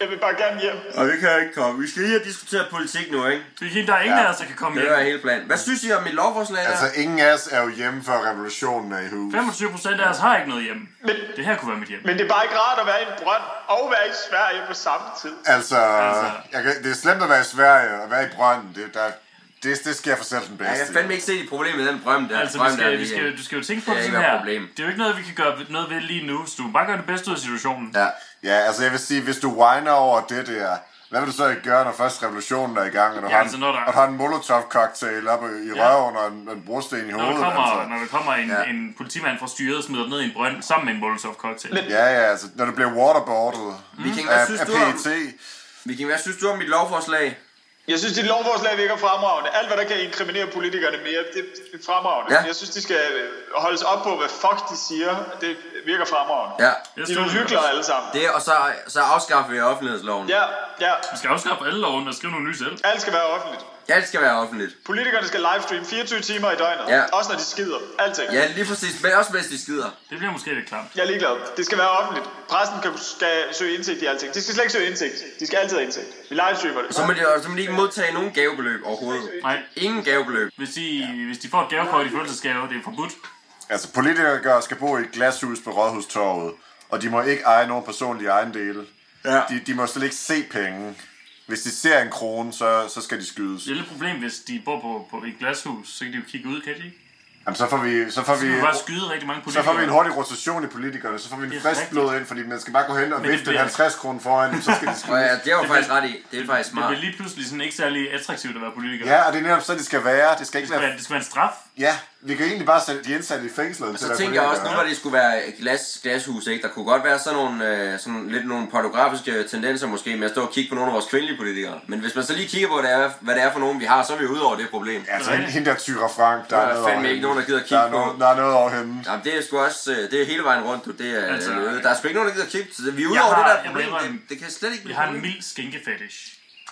Speaker 3: jeg vil bare gerne hjem.
Speaker 1: Og vi kan ikke komme. Vi skal lige have diskuteret politik nu, ikke?
Speaker 4: Viking, der er ingen
Speaker 2: Ja.
Speaker 4: af os, der kan komme
Speaker 1: Det
Speaker 4: hjem.
Speaker 1: er hele planen. Hvad synes I om mit lovforslag der?
Speaker 2: Altså, ingen af os er jo hjemme, før revolutionen er i hus.
Speaker 4: 25 procent af os har ikke noget hjem.
Speaker 3: Men,
Speaker 4: Det her kunne være mit hjem.
Speaker 3: men det er bare ikke rart at være i en brønd og være i Sverige på samme tid.
Speaker 2: Altså,
Speaker 4: Altså.
Speaker 2: jeg kan, det er slemt at være i Sverige og være i brønden. Det, der, Det, det sker for selv den bedste.
Speaker 1: Jeg kan fandme ikke se de problemer med den brøm der.
Speaker 4: Altså, vi
Speaker 1: Brøm der
Speaker 4: skal, vi
Speaker 1: lige-
Speaker 4: skal, du skal jo tænke på
Speaker 1: Det er
Speaker 4: det
Speaker 1: ikke noget
Speaker 4: sådan her.
Speaker 1: problem.
Speaker 4: Det er jo ikke noget, vi kan gøre noget ved lige nu, så du må bare gøre det bedste ud af situationen.
Speaker 1: Ja.
Speaker 2: Ja, altså jeg vil sige, hvis du whiner over det der, hvad vil du så ikke gøre, når først revolutionen er i gang, og du,
Speaker 4: Ja,
Speaker 2: har,
Speaker 4: altså,
Speaker 2: en,
Speaker 4: når der-
Speaker 2: og du har en molotov-cocktail op i i røven og en, og en brosten i
Speaker 4: Når
Speaker 2: hovedet?
Speaker 4: der kommer,
Speaker 2: altså.
Speaker 4: når der kommer en,
Speaker 2: Ja.
Speaker 4: ja. en politimand fra styret og smider den ned i en brønd sammen med en Molotov cocktail.
Speaker 2: Ja, ja, altså når du bliver waterboardet
Speaker 4: Mm.
Speaker 1: Vi kan, hvad
Speaker 2: af, E
Speaker 1: synes
Speaker 2: af
Speaker 1: du om,
Speaker 2: PET.
Speaker 1: Viking, hvad synes du om mit lovforslag?
Speaker 3: Jeg synes, dit lovforslag virker fremragende. Alt, hvad der kan inkriminere politikerne mere, det, det er fremragende.
Speaker 1: Ja.
Speaker 3: Ja. Jeg synes, de skal øh, holdes op på, hvad fuck de siger. Det virker fremragende.
Speaker 1: Ja.
Speaker 4: Det
Speaker 3: De er
Speaker 4: stod
Speaker 3: nogle
Speaker 4: der.
Speaker 3: hyggelige alle sammen.
Speaker 1: Det, og så, så afskaffer vi offentlighedsloven.
Speaker 3: Ja, ja.
Speaker 4: Vi skal afskaffe alle loven og skrive nogle nye selv.
Speaker 3: Alt skal være offentligt.
Speaker 1: Alt skal være offentligt.
Speaker 3: Politikerne skal livestream 24 timer i døgnet.
Speaker 1: Ja.
Speaker 3: Også når de skider. Alting.
Speaker 1: Ja, lige præcis. Men også mens de skider.
Speaker 4: Det bliver måske lidt klamt.
Speaker 3: Jeg er ligeglad. Det skal være offentligt. Pressen kan, skal søge indsigt i alting. De skal slet ikke søge indsigt. De skal altid have indsigt. Vi livestreamer det.
Speaker 1: Så må de, så må de ikke modtage nogen gavebeløb overhovedet.
Speaker 4: Nej,
Speaker 1: Ingen gavebeløb.
Speaker 4: hvis de, ja. hvis de får et gavekort i fødselsdagsgave, det er forbudt.
Speaker 2: Altså politikere skal bo i et glashus på Rådhustorvet, og de må ikke eje nogen personlige ejendele.
Speaker 1: Ja.
Speaker 2: De, de må slet ikke se penge. Hvis de ser en krone, så, så skal de skydes.
Speaker 4: Det er lidt et problem, hvis de bor på, på et glashus, så kan de jo kigge ud, kan de ikke?
Speaker 2: Jamen, så får vi, så får
Speaker 4: De
Speaker 2: vi,
Speaker 4: kan bare skyde rigtig mange
Speaker 2: så
Speaker 4: politikere.
Speaker 2: får vi en hurtig rotation i politikerne, så får vi en
Speaker 4: er
Speaker 2: frisk
Speaker 4: rigtigt.
Speaker 2: blod ind, fordi man skal bare gå hen og
Speaker 4: Men det
Speaker 2: vifte en
Speaker 4: bliver-
Speaker 2: 50 kroner foran dem, så skal de skydes.
Speaker 1: Og ja, det var faktisk ret i. Det er faktisk
Speaker 4: Det
Speaker 1: smart.
Speaker 4: bliver lige pludselig sådan ikke særlig attraktivt at være politiker.
Speaker 2: Ja, og det er netop så, de skal være. Det skal ikke
Speaker 4: Men
Speaker 2: være...
Speaker 4: Det skal være en straf.
Speaker 2: Ja, vi kan egentlig bare sætte de indsatte i fængslet. til
Speaker 1: Så
Speaker 2: at
Speaker 1: tænker Altså, jeg
Speaker 2: være
Speaker 1: også, nu
Speaker 2: politikere.
Speaker 1: hvor det skulle være glas, glashus, ikke? der kunne godt være sådan nogle, øh, sådan lidt nogle pornografiske tendenser måske med at stå og kigge på nogle af vores kvindelige politikere. Men hvis man så lige kigger på, hvad det er, hvad det er for nogen, vi har, så er vi ude over det problem.
Speaker 2: Ja, Altså, hende- hende der Tyra Frank, der
Speaker 1: Der
Speaker 2: er
Speaker 1: er fandme
Speaker 2: noget over
Speaker 1: ikke
Speaker 2: hende.
Speaker 1: nogen, der gider
Speaker 2: Der er
Speaker 1: kigge på.
Speaker 2: noget- Der er noget over hende.
Speaker 1: Jamen, det er sgu også, øh, det er hele vejen rundt, du. Det er,
Speaker 4: Altså,
Speaker 1: altså, der er sgu ikke nogen, der gider kigge. til det. Vi er ude
Speaker 4: Jeg
Speaker 1: over
Speaker 4: har-
Speaker 1: det der
Speaker 4: jeg
Speaker 1: problem.
Speaker 4: må indrømme,
Speaker 1: Det, det, kan slet ikke
Speaker 4: Vi
Speaker 1: blive
Speaker 4: har en
Speaker 1: problem.
Speaker 4: mild skinkefetish.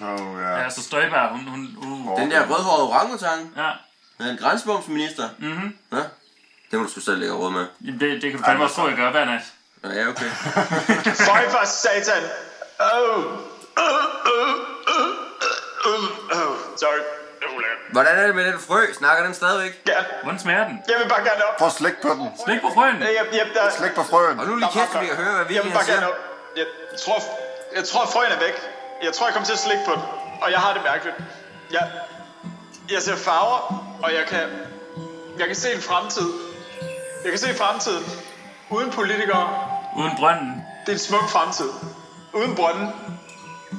Speaker 2: Åh, Oh, ja.
Speaker 4: Ja, altså Støjberg, hun... hun uh,
Speaker 1: Den der rødhårede orangutang,
Speaker 4: ja.
Speaker 1: den er en grænsebomsminister. Mhm. Ja? Det må du sgu selv lægge råd med.
Speaker 4: Jamen, det, det kan du fandme også tro, jeg gør hver nat.
Speaker 1: Nå, ja, okay.
Speaker 3: Føj for satan. Oh. Oh, oh, oh, oh, oh. Sorry. Det er ulækkert.
Speaker 1: Hvordan er det med den frø? Snakker den stadigvæk?
Speaker 3: Ja.
Speaker 4: Hvordan smager den?
Speaker 3: Jeg vil bare gerne op.
Speaker 2: Prøv at slække på den.
Speaker 4: Slik på frøen!
Speaker 3: Jeg, jeg, jeg, der,
Speaker 2: Slæk på frøen.
Speaker 1: Og nu lige kæft, så vi kan høre, hvad vi
Speaker 3: jeg vil
Speaker 1: kan
Speaker 3: bare
Speaker 1: sige.
Speaker 3: gerne op. Jeg tror, jeg tror, frøen er væk. Jeg tror, jeg kommer til at slikke på den. Og jeg har det mærkeligt. Jeg, jeg ser farver, og jeg kan, jeg kan se en fremtid. Jeg kan se fremtiden. Uden politikere.
Speaker 4: Uden brønden.
Speaker 3: Det er en smuk fremtid. Uden brønden.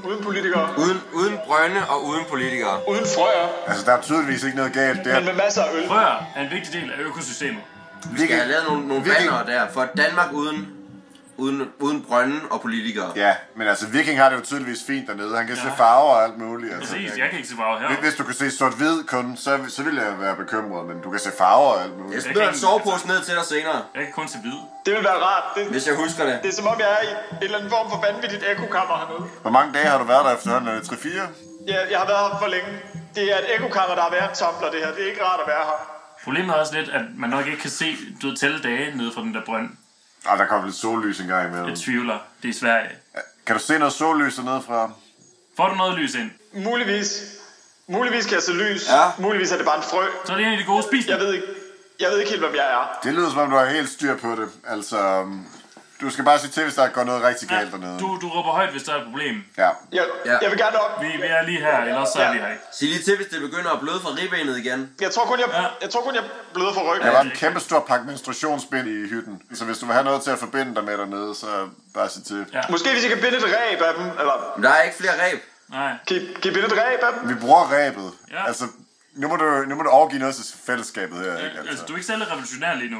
Speaker 3: Uden politikere.
Speaker 1: Uden, uden brønde og uden politikere.
Speaker 3: Uden frøer.
Speaker 2: Altså, der er tydeligvis ikke noget galt der.
Speaker 3: Men med masser af øl.
Speaker 4: Frøer er en vigtig del af økosystemet.
Speaker 1: Vi skal have lavet nogle, nogle
Speaker 2: Viking-
Speaker 1: banner der for Danmark uden, uden, uden brønde og politikere.
Speaker 2: Ja, men altså, Viking har det jo tydeligvis fint dernede. Han kan se farver og alt muligt. Altså.
Speaker 4: Præcis, jeg kan ikke se farve her.
Speaker 2: Hvis du kan se sort-hvid kun, så, så ville jeg være bekymret, men du kan se farver og alt
Speaker 1: Jeg
Speaker 2: muligt.
Speaker 1: smider en sovepose ned til dig senere,
Speaker 4: Jeg kan kun se hvid.
Speaker 3: Det vil være rart. Det,
Speaker 1: hvis jeg husker det.
Speaker 3: det er som om, jeg er i en eller anden form for vanvittigt ekokammer hernede.
Speaker 2: Hvor mange dage har du været der efterhånden? Er det 3-4?
Speaker 3: Jeg, jeg har været her for længe. Det er et ekokammer, der har været en tompler, det her. Det er ikke rart at være her.
Speaker 4: Problemet er også lidt, at man nok ikke kan se du ved, tælle dage nede fra den der brønd.
Speaker 2: Ah, der kommer lidt sollys engang imellem.
Speaker 4: Jeg
Speaker 1: Mm.
Speaker 4: tvivler. Det er i Sverige.
Speaker 2: Kan du se noget sollys dernede fra?
Speaker 4: Får du noget lys ind,
Speaker 3: Muligvis. Muligvis kan jeg se lys.
Speaker 1: Ja.
Speaker 3: Muligvis er det bare en frø.
Speaker 4: så er det en af de gode spis.
Speaker 3: Jeg ved ikke, jeg ved ikke helt, hvem jeg er.
Speaker 2: Det lyder som om, du har helt styr på det. Altså, um, du skal bare sige til, hvis der går noget rigtig galt dernede.
Speaker 4: Du, du råber højt, hvis der er et problem.
Speaker 2: Ja.
Speaker 3: Jeg,
Speaker 1: Ja.
Speaker 3: ja. jeg vil gerne op.
Speaker 4: Vi, vi er lige her, eller også så er vi her ikke.
Speaker 1: Sig lige til, hvis det begynder at bløde fra ribbenet igen.
Speaker 3: Jeg tror kun, jeg,
Speaker 4: Ja.
Speaker 3: jeg, tror kun, jeg bløder for ryggen.
Speaker 2: Der var en kæmpe stor pakke menstruationsbind i hytten. Så hvis du vil have noget til at forbinde dig med dernede, så bare sig til.
Speaker 4: Ja.
Speaker 3: Måske hvis jeg kan binde et ræb af dem. Eller,
Speaker 1: Men der er ikke flere ræb.
Speaker 4: Nej.
Speaker 3: kan I, kan I binde et ræb af dem?
Speaker 2: Vi bruger ræbet.
Speaker 4: Ja.
Speaker 2: Altså, nu må, du, nu må du overgive noget til fællesskabet her, ikke?
Speaker 4: Altså, du
Speaker 2: Altså,
Speaker 4: er ikke særlig revolutionær lige nu.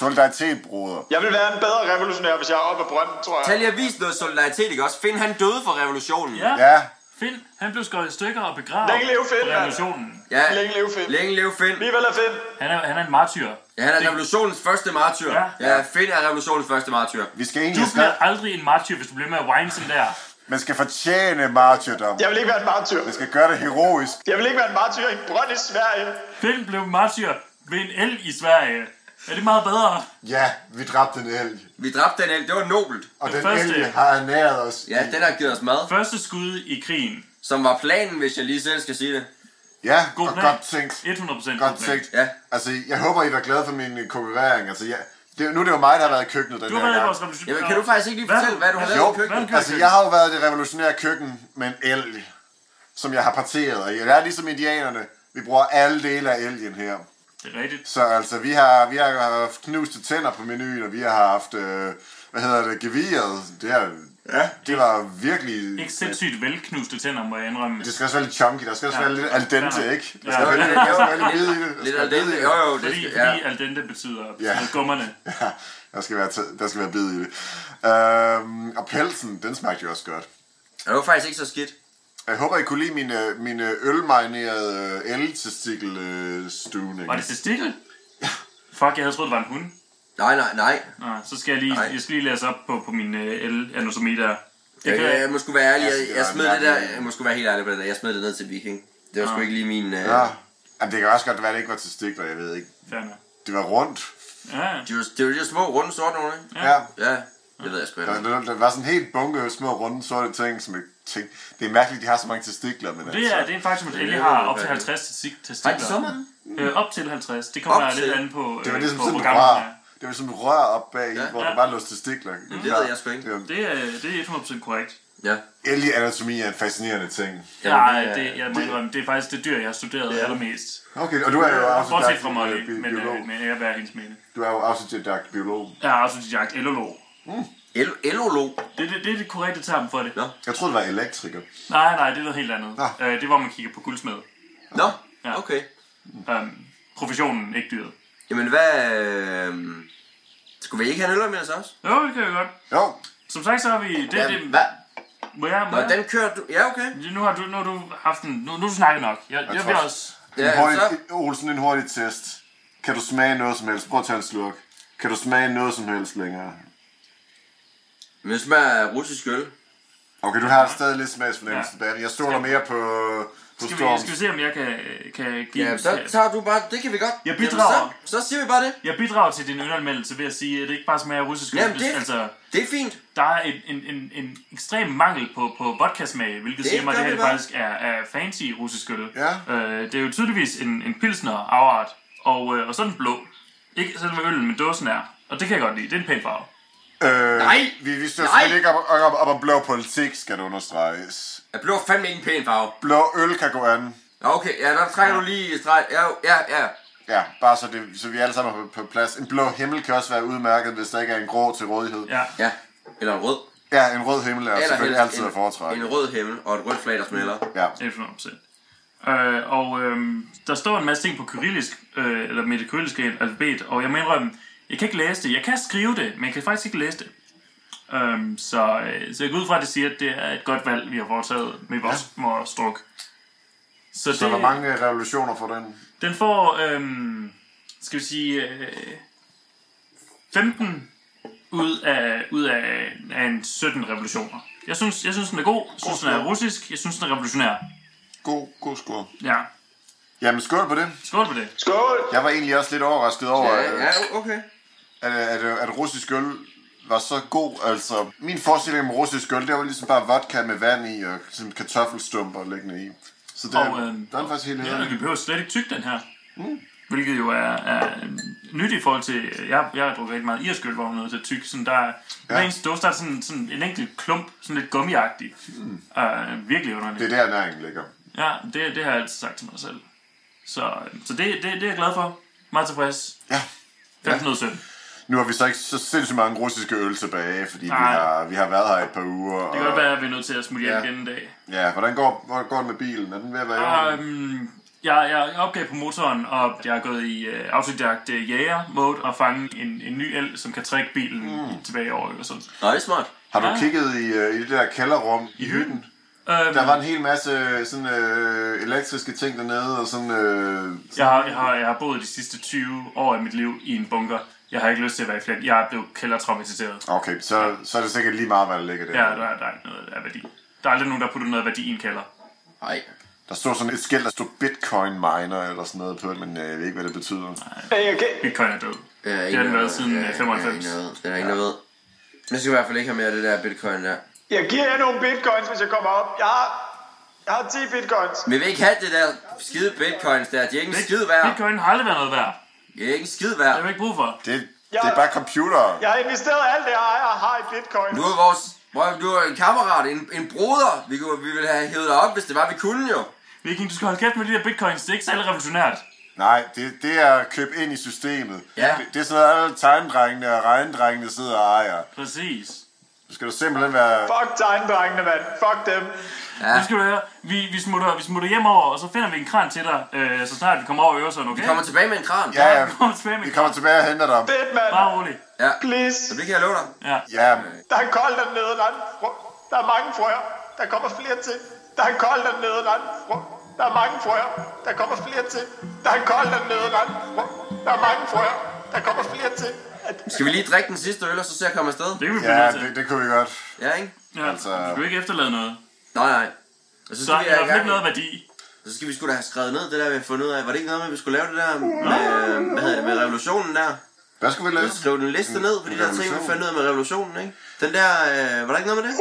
Speaker 2: solidaritet, broder.
Speaker 3: Jeg vil være en bedre revolutionær, hvis jeg er oppe af brønden, tror jeg.
Speaker 1: Tag lige at vise noget solidaritet, ikke også? Find han døde for revolutionen.
Speaker 4: Ja.
Speaker 2: Ja,
Speaker 4: Finn, han blev skåret i stykker og begravet
Speaker 3: Længe leve Finn,
Speaker 4: på
Speaker 3: mand.
Speaker 4: revolutionen.
Speaker 1: ja.
Speaker 3: Længe leve Finn.
Speaker 1: Længe leve Finn.
Speaker 3: Vi er vel af Finn.
Speaker 4: Han er, han er en martyr.
Speaker 1: Ja, han er revolutionens første martyr.
Speaker 4: Ja.
Speaker 1: Ja, Finn er revolutionens første martyr.
Speaker 2: vi skal egentlig
Speaker 4: Du
Speaker 2: have
Speaker 4: bliver
Speaker 2: skrevet,
Speaker 4: aldrig en martyr, hvis du bliver med at whine sådan der.
Speaker 2: man skal fortjene martyrdom.
Speaker 3: Jeg vil ikke være en martyr.
Speaker 2: Man skal gøre det heroisk.
Speaker 3: Jeg vil ikke være en martyr i en brønd i Sverige.
Speaker 4: Finn blev martyr ved en el i Sverige. Er det meget bedre?
Speaker 2: Ja, vi dræbte en elg.
Speaker 1: Vi dræbte den el. Det var nobelt.
Speaker 2: Og
Speaker 4: Den
Speaker 2: den
Speaker 4: første-
Speaker 2: elg har ernæret os.
Speaker 1: Ja, den har givet os mad.
Speaker 4: Første skud i krigen.
Speaker 1: Som var planen, hvis jeg lige selv skal sige det.
Speaker 2: Ja,
Speaker 4: God
Speaker 2: og
Speaker 4: plan.
Speaker 2: godt tænkt.
Speaker 4: 100%
Speaker 2: Godt
Speaker 4: plan.
Speaker 2: tænkt.
Speaker 1: Ja.
Speaker 2: Altså, jeg håber, I var glade for min øh, konkurrering. Altså, jeg, det, nu er det jo mig, der har været i køkkenet den
Speaker 4: Du har
Speaker 2: her
Speaker 4: været i
Speaker 2: gang.
Speaker 4: vores revolution.
Speaker 1: Jamen, kan du faktisk ikke lige fortælle, hvad du har
Speaker 4: Hvad?
Speaker 1: lavet i
Speaker 2: Jo,
Speaker 1: køkkenet?
Speaker 4: Hvad?
Speaker 2: Altså, jeg har jo været i det revolutionære køkken med en elg, som jeg har parteret. Og jeg er ligesom indianerne. Vi bruger alle dele af elgen her.
Speaker 4: Det er rigtigt.
Speaker 2: Så altså, vi har, vi har haft knuste tænder på menuen, og vi har haft, øh, hvad hedder det, geviret. Det, er, ja, det var virkelig...
Speaker 4: Ikke sindssygt velknuste tænder, må jeg indrømme.
Speaker 2: Det skal også være lidt chunky, der skal også
Speaker 4: Ja.
Speaker 2: være lidt al dente, ikke? Der skal
Speaker 4: Ja.
Speaker 2: være lidt, der skal være lidt hvide i det. Der
Speaker 1: Lidt
Speaker 2: skal
Speaker 1: af
Speaker 2: være
Speaker 1: det.
Speaker 2: hvide i det.
Speaker 1: Jo, jo, det
Speaker 4: Fordi,
Speaker 1: skal,
Speaker 4: fordi
Speaker 1: ja.
Speaker 4: al dente betyder
Speaker 2: Ja.
Speaker 4: ja. gummerne.
Speaker 2: Ja, der skal være, t- der skal være bid i det. Øhm, og pelsen, den smagte jo også godt.
Speaker 1: Og det var faktisk ikke så skidt.
Speaker 2: Jeg håber, I kunne lide mine, mine øh, ølmarinerede el-testikel øh, stuvning.
Speaker 4: Var det testikel? Fuck, jeg havde troet, det var en hund.
Speaker 1: Nej, nej, nej.
Speaker 4: Nå, så skal jeg lige,
Speaker 1: Nej.
Speaker 4: jeg skal lige læse op på, på min el-anosometer. Det
Speaker 1: Jeg,
Speaker 4: kan
Speaker 1: jeg,
Speaker 4: jeg.
Speaker 1: jeg må sgu være ærlig,
Speaker 2: Jeg
Speaker 1: jeg,
Speaker 2: synes, det
Speaker 1: jeg,
Speaker 2: var
Speaker 1: smed
Speaker 2: en
Speaker 1: det der,
Speaker 2: mærkelig-
Speaker 1: jeg må sgu være helt ærlig på det der, jeg smed det ned til Viking. Det var sgu ikke lige min, øh,
Speaker 2: Ja.
Speaker 1: ja.
Speaker 2: Jamen, det kan også godt være, at det ikke var testikler, jeg ved ikke.
Speaker 4: Fair nok.
Speaker 2: Det var rundt.
Speaker 4: Ja, ja.
Speaker 1: de var, det var de der små runde sorte nogle, ikke?
Speaker 2: Ja. ja.
Speaker 1: Ja, det ved jeg sgu ikke.
Speaker 2: Der, der, der var sådan en helt bunke små runde sorte ting, som jeg tænkte, det er mærkeligt, at de har så mange testikler, men altså-
Speaker 4: Det er, det er faktisk, at Ellie har op til 50 testik- testikler.
Speaker 1: Har de så mange?
Speaker 4: Øh, op til 50. Det kommer
Speaker 1: Op til?
Speaker 4: lidt an på, øh,
Speaker 2: det var ligesom
Speaker 4: på
Speaker 2: sådan et
Speaker 4: programmet.
Speaker 2: rør.
Speaker 4: Ja.
Speaker 2: Det var sådan et rør op bag, ja,
Speaker 1: Ja.
Speaker 2: hvor
Speaker 4: Ja.
Speaker 2: der bare lå testikler. Mm.
Speaker 1: det ved jeg sgu ikke.
Speaker 2: Det
Speaker 4: Det er, det er 100% korrekt.
Speaker 1: Ja.
Speaker 2: anatomi er en fascinerende ting.
Speaker 1: Jamen,
Speaker 4: Nej,
Speaker 1: det er-
Speaker 4: det, jeg må indrømme, det er faktisk det dyr, jeg har studeret
Speaker 1: Ja.
Speaker 4: allermest.
Speaker 2: Okay, og du er jo
Speaker 4: Øh, Bortset
Speaker 2: autodidakt
Speaker 4: fra Molly,
Speaker 2: bi-
Speaker 4: men,
Speaker 2: biolog.
Speaker 4: øh, men jeg vil være hendes mening.
Speaker 2: Du er jo autodidakt biolog.
Speaker 4: Jeg er autodidakt elolog.
Speaker 1: El- Elolog.
Speaker 4: Det, det, det er det korrekte term for det.
Speaker 1: Nå.
Speaker 2: Jeg troede, det var elektriker.
Speaker 4: Nej, nej, det er noget helt andet.
Speaker 2: Nå.
Speaker 4: Øh, det er, hvor man kigger på guldsmed.
Speaker 1: Nå,
Speaker 4: Ja.
Speaker 1: okay.
Speaker 4: Øhm, professionen, ikke dyret.
Speaker 1: Jamen, hvad... Øh, skulle vi ikke have en øl med os også?
Speaker 4: Jo, det kan vi godt.
Speaker 2: Jo,
Speaker 4: Som sagt, så har vi... Det,
Speaker 1: Jamen,
Speaker 4: det,
Speaker 1: hvad?
Speaker 4: Må jeg, må
Speaker 1: Nå,
Speaker 4: jeg?
Speaker 1: den kører du... Ja, okay.
Speaker 4: Nu har du, nu har du haft en... Nu, nu har du snakket nok. Jeg, jeg, jeg vil
Speaker 2: tror-
Speaker 4: også...
Speaker 1: Ja,
Speaker 2: en hurtig,
Speaker 1: så...
Speaker 2: Olsen, en hurtig test. Kan du smage noget som helst? Prøv at tage en slurk. Kan du smage noget som helst længere?
Speaker 1: Men det smager af russisk øl.
Speaker 2: Okay, du har stadig lidt smagsfornemmelse, ja. Jeg stoler mere på, på
Speaker 4: Skal vi,
Speaker 2: Storm.
Speaker 4: skal vi se, om jeg kan, kan give...
Speaker 1: Ja, så tager du bare... Det kan vi godt.
Speaker 4: Jeg
Speaker 1: Jamen,
Speaker 4: bidrager.
Speaker 1: så, så siger vi bare det.
Speaker 4: Jeg bidrager til din ølanmeldelse ved at sige, at det ikke bare smager af russisk øl.
Speaker 1: Jamen, det-
Speaker 4: Altså,
Speaker 1: Det er fint.
Speaker 4: der er en, en, en, en ekstrem mangel på, på vodka-smag, hvilket
Speaker 1: Det
Speaker 4: siger mig, at
Speaker 1: gør vi
Speaker 4: det her det
Speaker 1: bare.
Speaker 4: faktisk er, er fancy russisk øl.
Speaker 2: Ja.
Speaker 4: Øh, det er jo tydeligvis en, en pilsner-afart, og, øh, og så er den blå. Ikke selve øllen, men dåsen er. Og det kan jeg godt lide. Det er en pæn farve.
Speaker 2: Øh,
Speaker 1: Nej!
Speaker 2: Vi, vi står
Speaker 1: Nej!
Speaker 2: selvfølgelig ikke op, op, op, om blå politik, skal det understreges.
Speaker 1: Jeg blå er fandme ikke en pæn farve.
Speaker 2: Blå øl kan gå an.
Speaker 1: Nå, Okay, ja, der trækker du lige i streg. Ja, jo, ja, ja.
Speaker 2: Ja, bare så, det, så vi alle sammen er på, på plads. En blå himmel kan også være udmærket, hvis der ikke er en grå til rådighed.
Speaker 4: Ja.
Speaker 1: Ja, eller en rød.
Speaker 2: ja en rød himmel er
Speaker 1: Eller
Speaker 2: selvfølgelig
Speaker 1: helst
Speaker 2: altid at foretrække.
Speaker 1: En rød himmel og et rødt flag, der smelter.
Speaker 2: Ja.
Speaker 4: 100%. Øh, og øh, der står en masse ting på kyrillisk, øh, eller med det kyrilliske alfabet, og jeg må indrømme, jeg kan ikke læse det. Jeg kan skrive det, men jeg kan faktisk ikke læse det. Øhm, så, øh, så jeg går ud fra, at det siger, at det er et godt valg, vi har foretaget med vores, ja. vores druk. Så, det,
Speaker 2: Så hvor mange revolutioner for den?
Speaker 4: den får, øhm, skal vi sige, øh, 15 ud af, ud af, af en 17 revolutioner. Jeg synes, jeg synes, den er god. Jeg synes, den er russisk. Jeg synes, den er revolutionær.
Speaker 2: God, god skål.
Speaker 4: Ja,
Speaker 2: Jamen, skål på det.
Speaker 4: skål på det.
Speaker 3: Skål!
Speaker 2: Jeg var egentlig også lidt overrasket over,
Speaker 1: Ja,
Speaker 2: øh,
Speaker 1: ja, okay.
Speaker 2: at, at, at russisk øl var så god. Altså, min forestilling om russisk øl, det var ligesom bare vodka med vand i og sådan kartoffelstumper liggende i. Så det,
Speaker 4: Og, øh,
Speaker 2: der er den faktisk helt
Speaker 4: Ja, og vi
Speaker 2: hederlig.
Speaker 4: behøver slet ikke tygge den her.
Speaker 2: Mm.
Speaker 4: Hvilket jo er, er øhm, nyt i forhold til... Jeg, jeg har drukket rigtig meget irsk øl, hvor man er nødt til at tygge. Sådan der, ja. Hver eneste dåse, der er sådan, sådan en enkelt klump, sådan lidt gummiagtig. Mm. Uh, virkelig underligt.
Speaker 2: Det er der, næringen ligger.
Speaker 4: Ja, det, det har jeg altid sagt til mig selv. Så, øhm, så det, det, det er jeg glad for. Meget tilfreds.
Speaker 2: Ja.
Speaker 4: 1517.
Speaker 2: Nu har vi så ikke så sindssygt mange russiske øl tilbage, fordi vi
Speaker 4: Nej.
Speaker 2: har, vi har været her et par uger.
Speaker 4: Det kan godt være, at vi er nødt til at smutte hjem
Speaker 2: Ja.
Speaker 4: igen en dag.
Speaker 2: Ja, hvordan går, hvordan går det med bilen? Er den ved at være i orden?
Speaker 4: Um, jeg, jeg opgav på motoren, og jeg er gået i uh, autodidakt uh, jæger-mode og fange en, en ny el, som kan trække bilen mm. tilbage over eller sådan.
Speaker 1: Nå, det er smart.
Speaker 2: Har du
Speaker 4: ja. Mhm.
Speaker 2: kigget i, øh, i det der kælderrum i hytten?
Speaker 4: Øhm,
Speaker 2: Der var en hel masse øh, sådan, øh, elektriske ting dernede, og sådan... Øh,
Speaker 4: jeg, har, jeg, har, jeg har boet de sidste 20 år af mit liv i en bunker. Jeg har ikke lyst til at være i flæk. Jeg er blevet kældertraumatiseret.
Speaker 2: okay, så, så er det sikkert lige meget, hvad der ligger der.
Speaker 4: Ja, der, er- der er ikke noget af værdi. Der er aldrig nogen, der putter noget værdi i en kælder.
Speaker 1: Nej.
Speaker 2: Der stod sådan et skilt, der stod Bitcoin Miner eller sådan noget på det, men øh, jeg ved ikke, hvad det betyder.
Speaker 3: Hey, okay.
Speaker 4: Bitcoin er død. Det har den været siden øh, 95.
Speaker 1: Det er ikke noget. Jeg skal i hvert fald ikke have mere af det der bitcoin der.
Speaker 3: Jeg giver jer nogle bitcoins, hvis jeg kommer op. Jeg har, jeg har 10 bitcoins.
Speaker 1: Men vi vil ikke have det der skide bitcoins der. De er ikke en skid værd.
Speaker 4: Bitcoin har aldrig været noget værd.
Speaker 1: De er ikke en skid
Speaker 4: Det
Speaker 1: værd.
Speaker 4: har vi ikke brug for.
Speaker 2: Det,
Speaker 3: Ja.
Speaker 2: det er bare computer.
Speaker 3: Jeg har investeret alt det, jeg ejer og har i bitcoin.
Speaker 1: Du er vores... Prøv, du er en kammerat, en, en broder. Vi, kunne, vi ville have hævet dig op, hvis det var, vi kunne jo.
Speaker 4: Viking, du skal holde kæft med de der bitcoins. Det er ikke særlig revolutionært.
Speaker 2: Nej, det, det er at købe ind i systemet.
Speaker 1: Ja.
Speaker 2: Det, det er sådan noget, alle tegndrengene og regndrengene sidder og ejer.
Speaker 4: Præcis.
Speaker 2: Du skal du simpelthen være...
Speaker 3: Fuck tegndrengene, mand. Fuck dem.
Speaker 4: Ja. Nu skal du høre, vi, vi, smutter, vi smutter hjem over, og så finder vi en kran til dig, øh, så snart vi kommer over i Øresund, okay?
Speaker 1: Vi kommer tilbage med en kran.
Speaker 2: Ja, ja.
Speaker 4: Vi kommer tilbage med
Speaker 2: Vi
Speaker 4: en kran.
Speaker 2: kommer tilbage og henter dig.
Speaker 3: Fedt, mand.
Speaker 4: Bare rolig.
Speaker 1: ja.
Speaker 3: Please.
Speaker 1: Så det kan jeg love dig.
Speaker 4: Ja.
Speaker 2: Ja,
Speaker 3: Der er koldt dernede, der er, en fru- der er mange frøer. Der kommer flere til. Der er koldt dernede, der er en fru- der er mange frøer. Der kommer flere til. Der er koldt dernede, der er en fru- der er mange frøer. Der kommer flere til. At-
Speaker 1: Skal vi lige drikke den sidste øl, og så se at komme afsted?
Speaker 4: Det kan vi blive
Speaker 2: ja
Speaker 4: nødt til.
Speaker 2: det, det kunne vi godt.
Speaker 1: Ja, ikke?
Speaker 4: Ja.
Speaker 2: altså-
Speaker 4: Du kan ikke efterlade noget.
Speaker 1: Nej, nej. Og så
Speaker 4: Så
Speaker 1: skal,
Speaker 4: er
Speaker 1: vi
Speaker 4: der i
Speaker 1: have
Speaker 4: hvert fald
Speaker 1: gang,
Speaker 4: ikke noget værdi.
Speaker 1: så skal vi sgu da have skrevet ned det der, vi har fundet ud af. Var det ikke noget med, at vi skulle lave det der med, øh, hvad hedder det, med revolutionen der?
Speaker 2: Hvad skulle vi
Speaker 1: Vi
Speaker 2: lave?
Speaker 1: skrev en liste ned på de der ting, vi
Speaker 2: Revolution.
Speaker 1: fandt ud af med revolutionen, ikke? Den der, øh, var der ikke noget med det?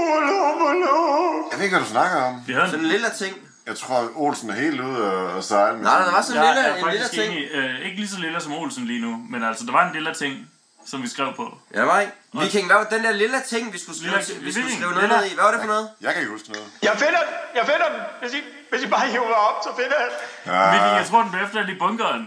Speaker 2: Jeg ved ikke, hvad du snakker om.
Speaker 4: Vi havde en...
Speaker 1: Sådan en lille ting.
Speaker 2: Jeg tror, Olsen er helt ude og og sejle. med
Speaker 1: Nej,
Speaker 2: sådan-
Speaker 1: der var sådan
Speaker 4: Jeg
Speaker 1: en lille,
Speaker 4: er
Speaker 1: en lille
Speaker 4: faktisk
Speaker 1: ting.
Speaker 4: enig. Øh, ikke lige så lille som Olsen lige nu, men altså, der var en lille ting, som vi skrev på.
Speaker 1: Ja, der var ikke. Viking, hvad var den der lille ting, vi skulle skrive,
Speaker 4: Lille-
Speaker 1: vi skulle
Speaker 4: Viking,
Speaker 1: skrive noget
Speaker 4: lille-
Speaker 1: ned i? Hvad var det for noget?
Speaker 2: Jeg kan ikke huske noget.
Speaker 3: Jeg finder den. Jeg finder den. Hvis I, hvis I bare hiver mig op, så finder jeg den.
Speaker 4: Ah. Viking, jeg tror, den blev efterladt i bunkeren.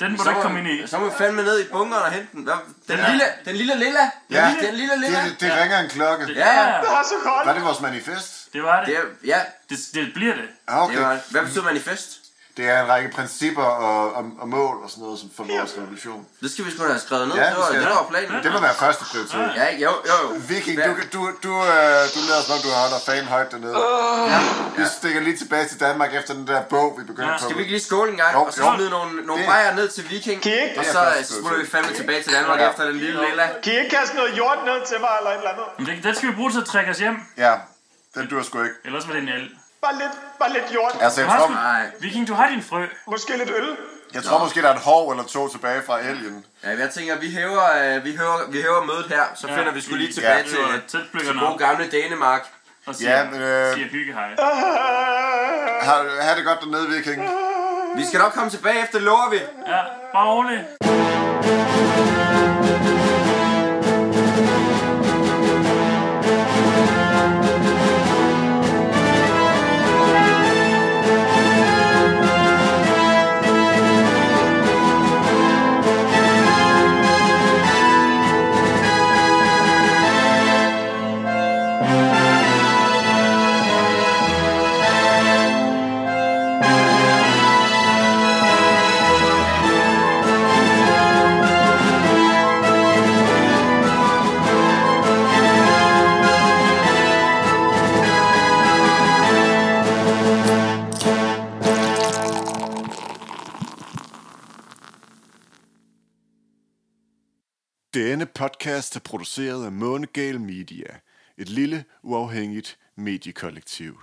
Speaker 4: Den må du
Speaker 1: Så
Speaker 4: ikke
Speaker 1: må-
Speaker 4: komme ind i.
Speaker 1: Så må vi fandme ned i bunkeren og hente den. Hvad- Den,
Speaker 4: Ja.
Speaker 1: lille, den lille lilla. Den lille- Den lille lilla.
Speaker 2: Det, det ringer en klokke.
Speaker 1: Ja, ja.
Speaker 3: Det er så koldt.
Speaker 2: Var det vores manifest?
Speaker 4: Det var det.
Speaker 1: Det, er, ja,
Speaker 4: Det, det bliver det.
Speaker 2: Ah,
Speaker 1: det var,
Speaker 2: okay.
Speaker 1: hvad betyder manifest?
Speaker 2: Det er en række principper og, og, og mål og sådan noget som for vores revolution.
Speaker 1: Det skal vi sgu da have skrevet ned.
Speaker 2: Ja,
Speaker 1: det,
Speaker 2: vi
Speaker 1: var,
Speaker 2: skal.
Speaker 1: det var planen.
Speaker 2: Det må være første prioritet.
Speaker 1: Ja, ikke? jo, jo. jo.
Speaker 2: Viking,
Speaker 1: Ja.
Speaker 2: du, du, du, øh, du lader som om, du holder fan højt dernede.
Speaker 1: Ja.
Speaker 2: Vi stikker lige tilbage til Danmark efter den der bog, vi begyndte
Speaker 4: Ja.
Speaker 2: på.
Speaker 1: Skal vi ikke lige skåle en gang,
Speaker 2: Jo,
Speaker 1: og så
Speaker 2: jo.
Speaker 1: smide nogle, nogle
Speaker 2: Det-
Speaker 1: bajer ned til Viking,
Speaker 3: Kan I ikke?
Speaker 1: og
Speaker 2: Det er
Speaker 1: så øh,
Speaker 2: faktisk
Speaker 1: smutter vi
Speaker 2: godt.
Speaker 1: fandme tilbage til Danmark
Speaker 2: Ja.
Speaker 1: efter den lille lilla.
Speaker 3: Kan I ikke kaste noget jord ned til mig eller et eller andet?
Speaker 4: Men det, den skal vi bruge til at trække os hjem.
Speaker 2: Ja, den dur sgu ikke.
Speaker 4: Ellers var det en el.
Speaker 3: Bare lidt, bare lidt jord.
Speaker 2: Altså, jeg
Speaker 4: Har
Speaker 2: tror,
Speaker 4: sgu-
Speaker 1: Nej.
Speaker 4: Viking, du har din frø.
Speaker 3: Måske lidt øl.
Speaker 2: jeg tror måske, der er et hår eller to tilbage fra elgen.
Speaker 1: Ja, jeg tænker, vi hæver, øh, vi hæver, vi hæver mødet her, så finder vi sgu lige tilbage
Speaker 2: Ja.
Speaker 1: til,
Speaker 4: Det var tilflykkerne
Speaker 1: til gode gamle Danemark.
Speaker 4: Og siger,
Speaker 2: Ja, men øh,
Speaker 4: siger hygge hej.
Speaker 2: har, har det godt dernede, Viking.
Speaker 1: Vi skal nok komme tilbage efter, lover vi.
Speaker 4: Ja, bare rolig.
Speaker 2: Denne podcast er produceret af Månegal Media, et lille, uafhængigt mediekollektiv.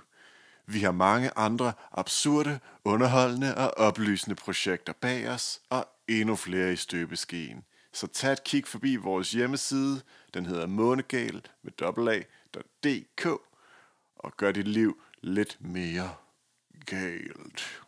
Speaker 2: Vi har mange andre absurde, underholdende og oplysende projekter bag os, og endnu flere i støbeskeen. Så tag et kig forbi vores hjemmeside, den hedder månegal med dobbelt og gør dit liv lidt mere galt.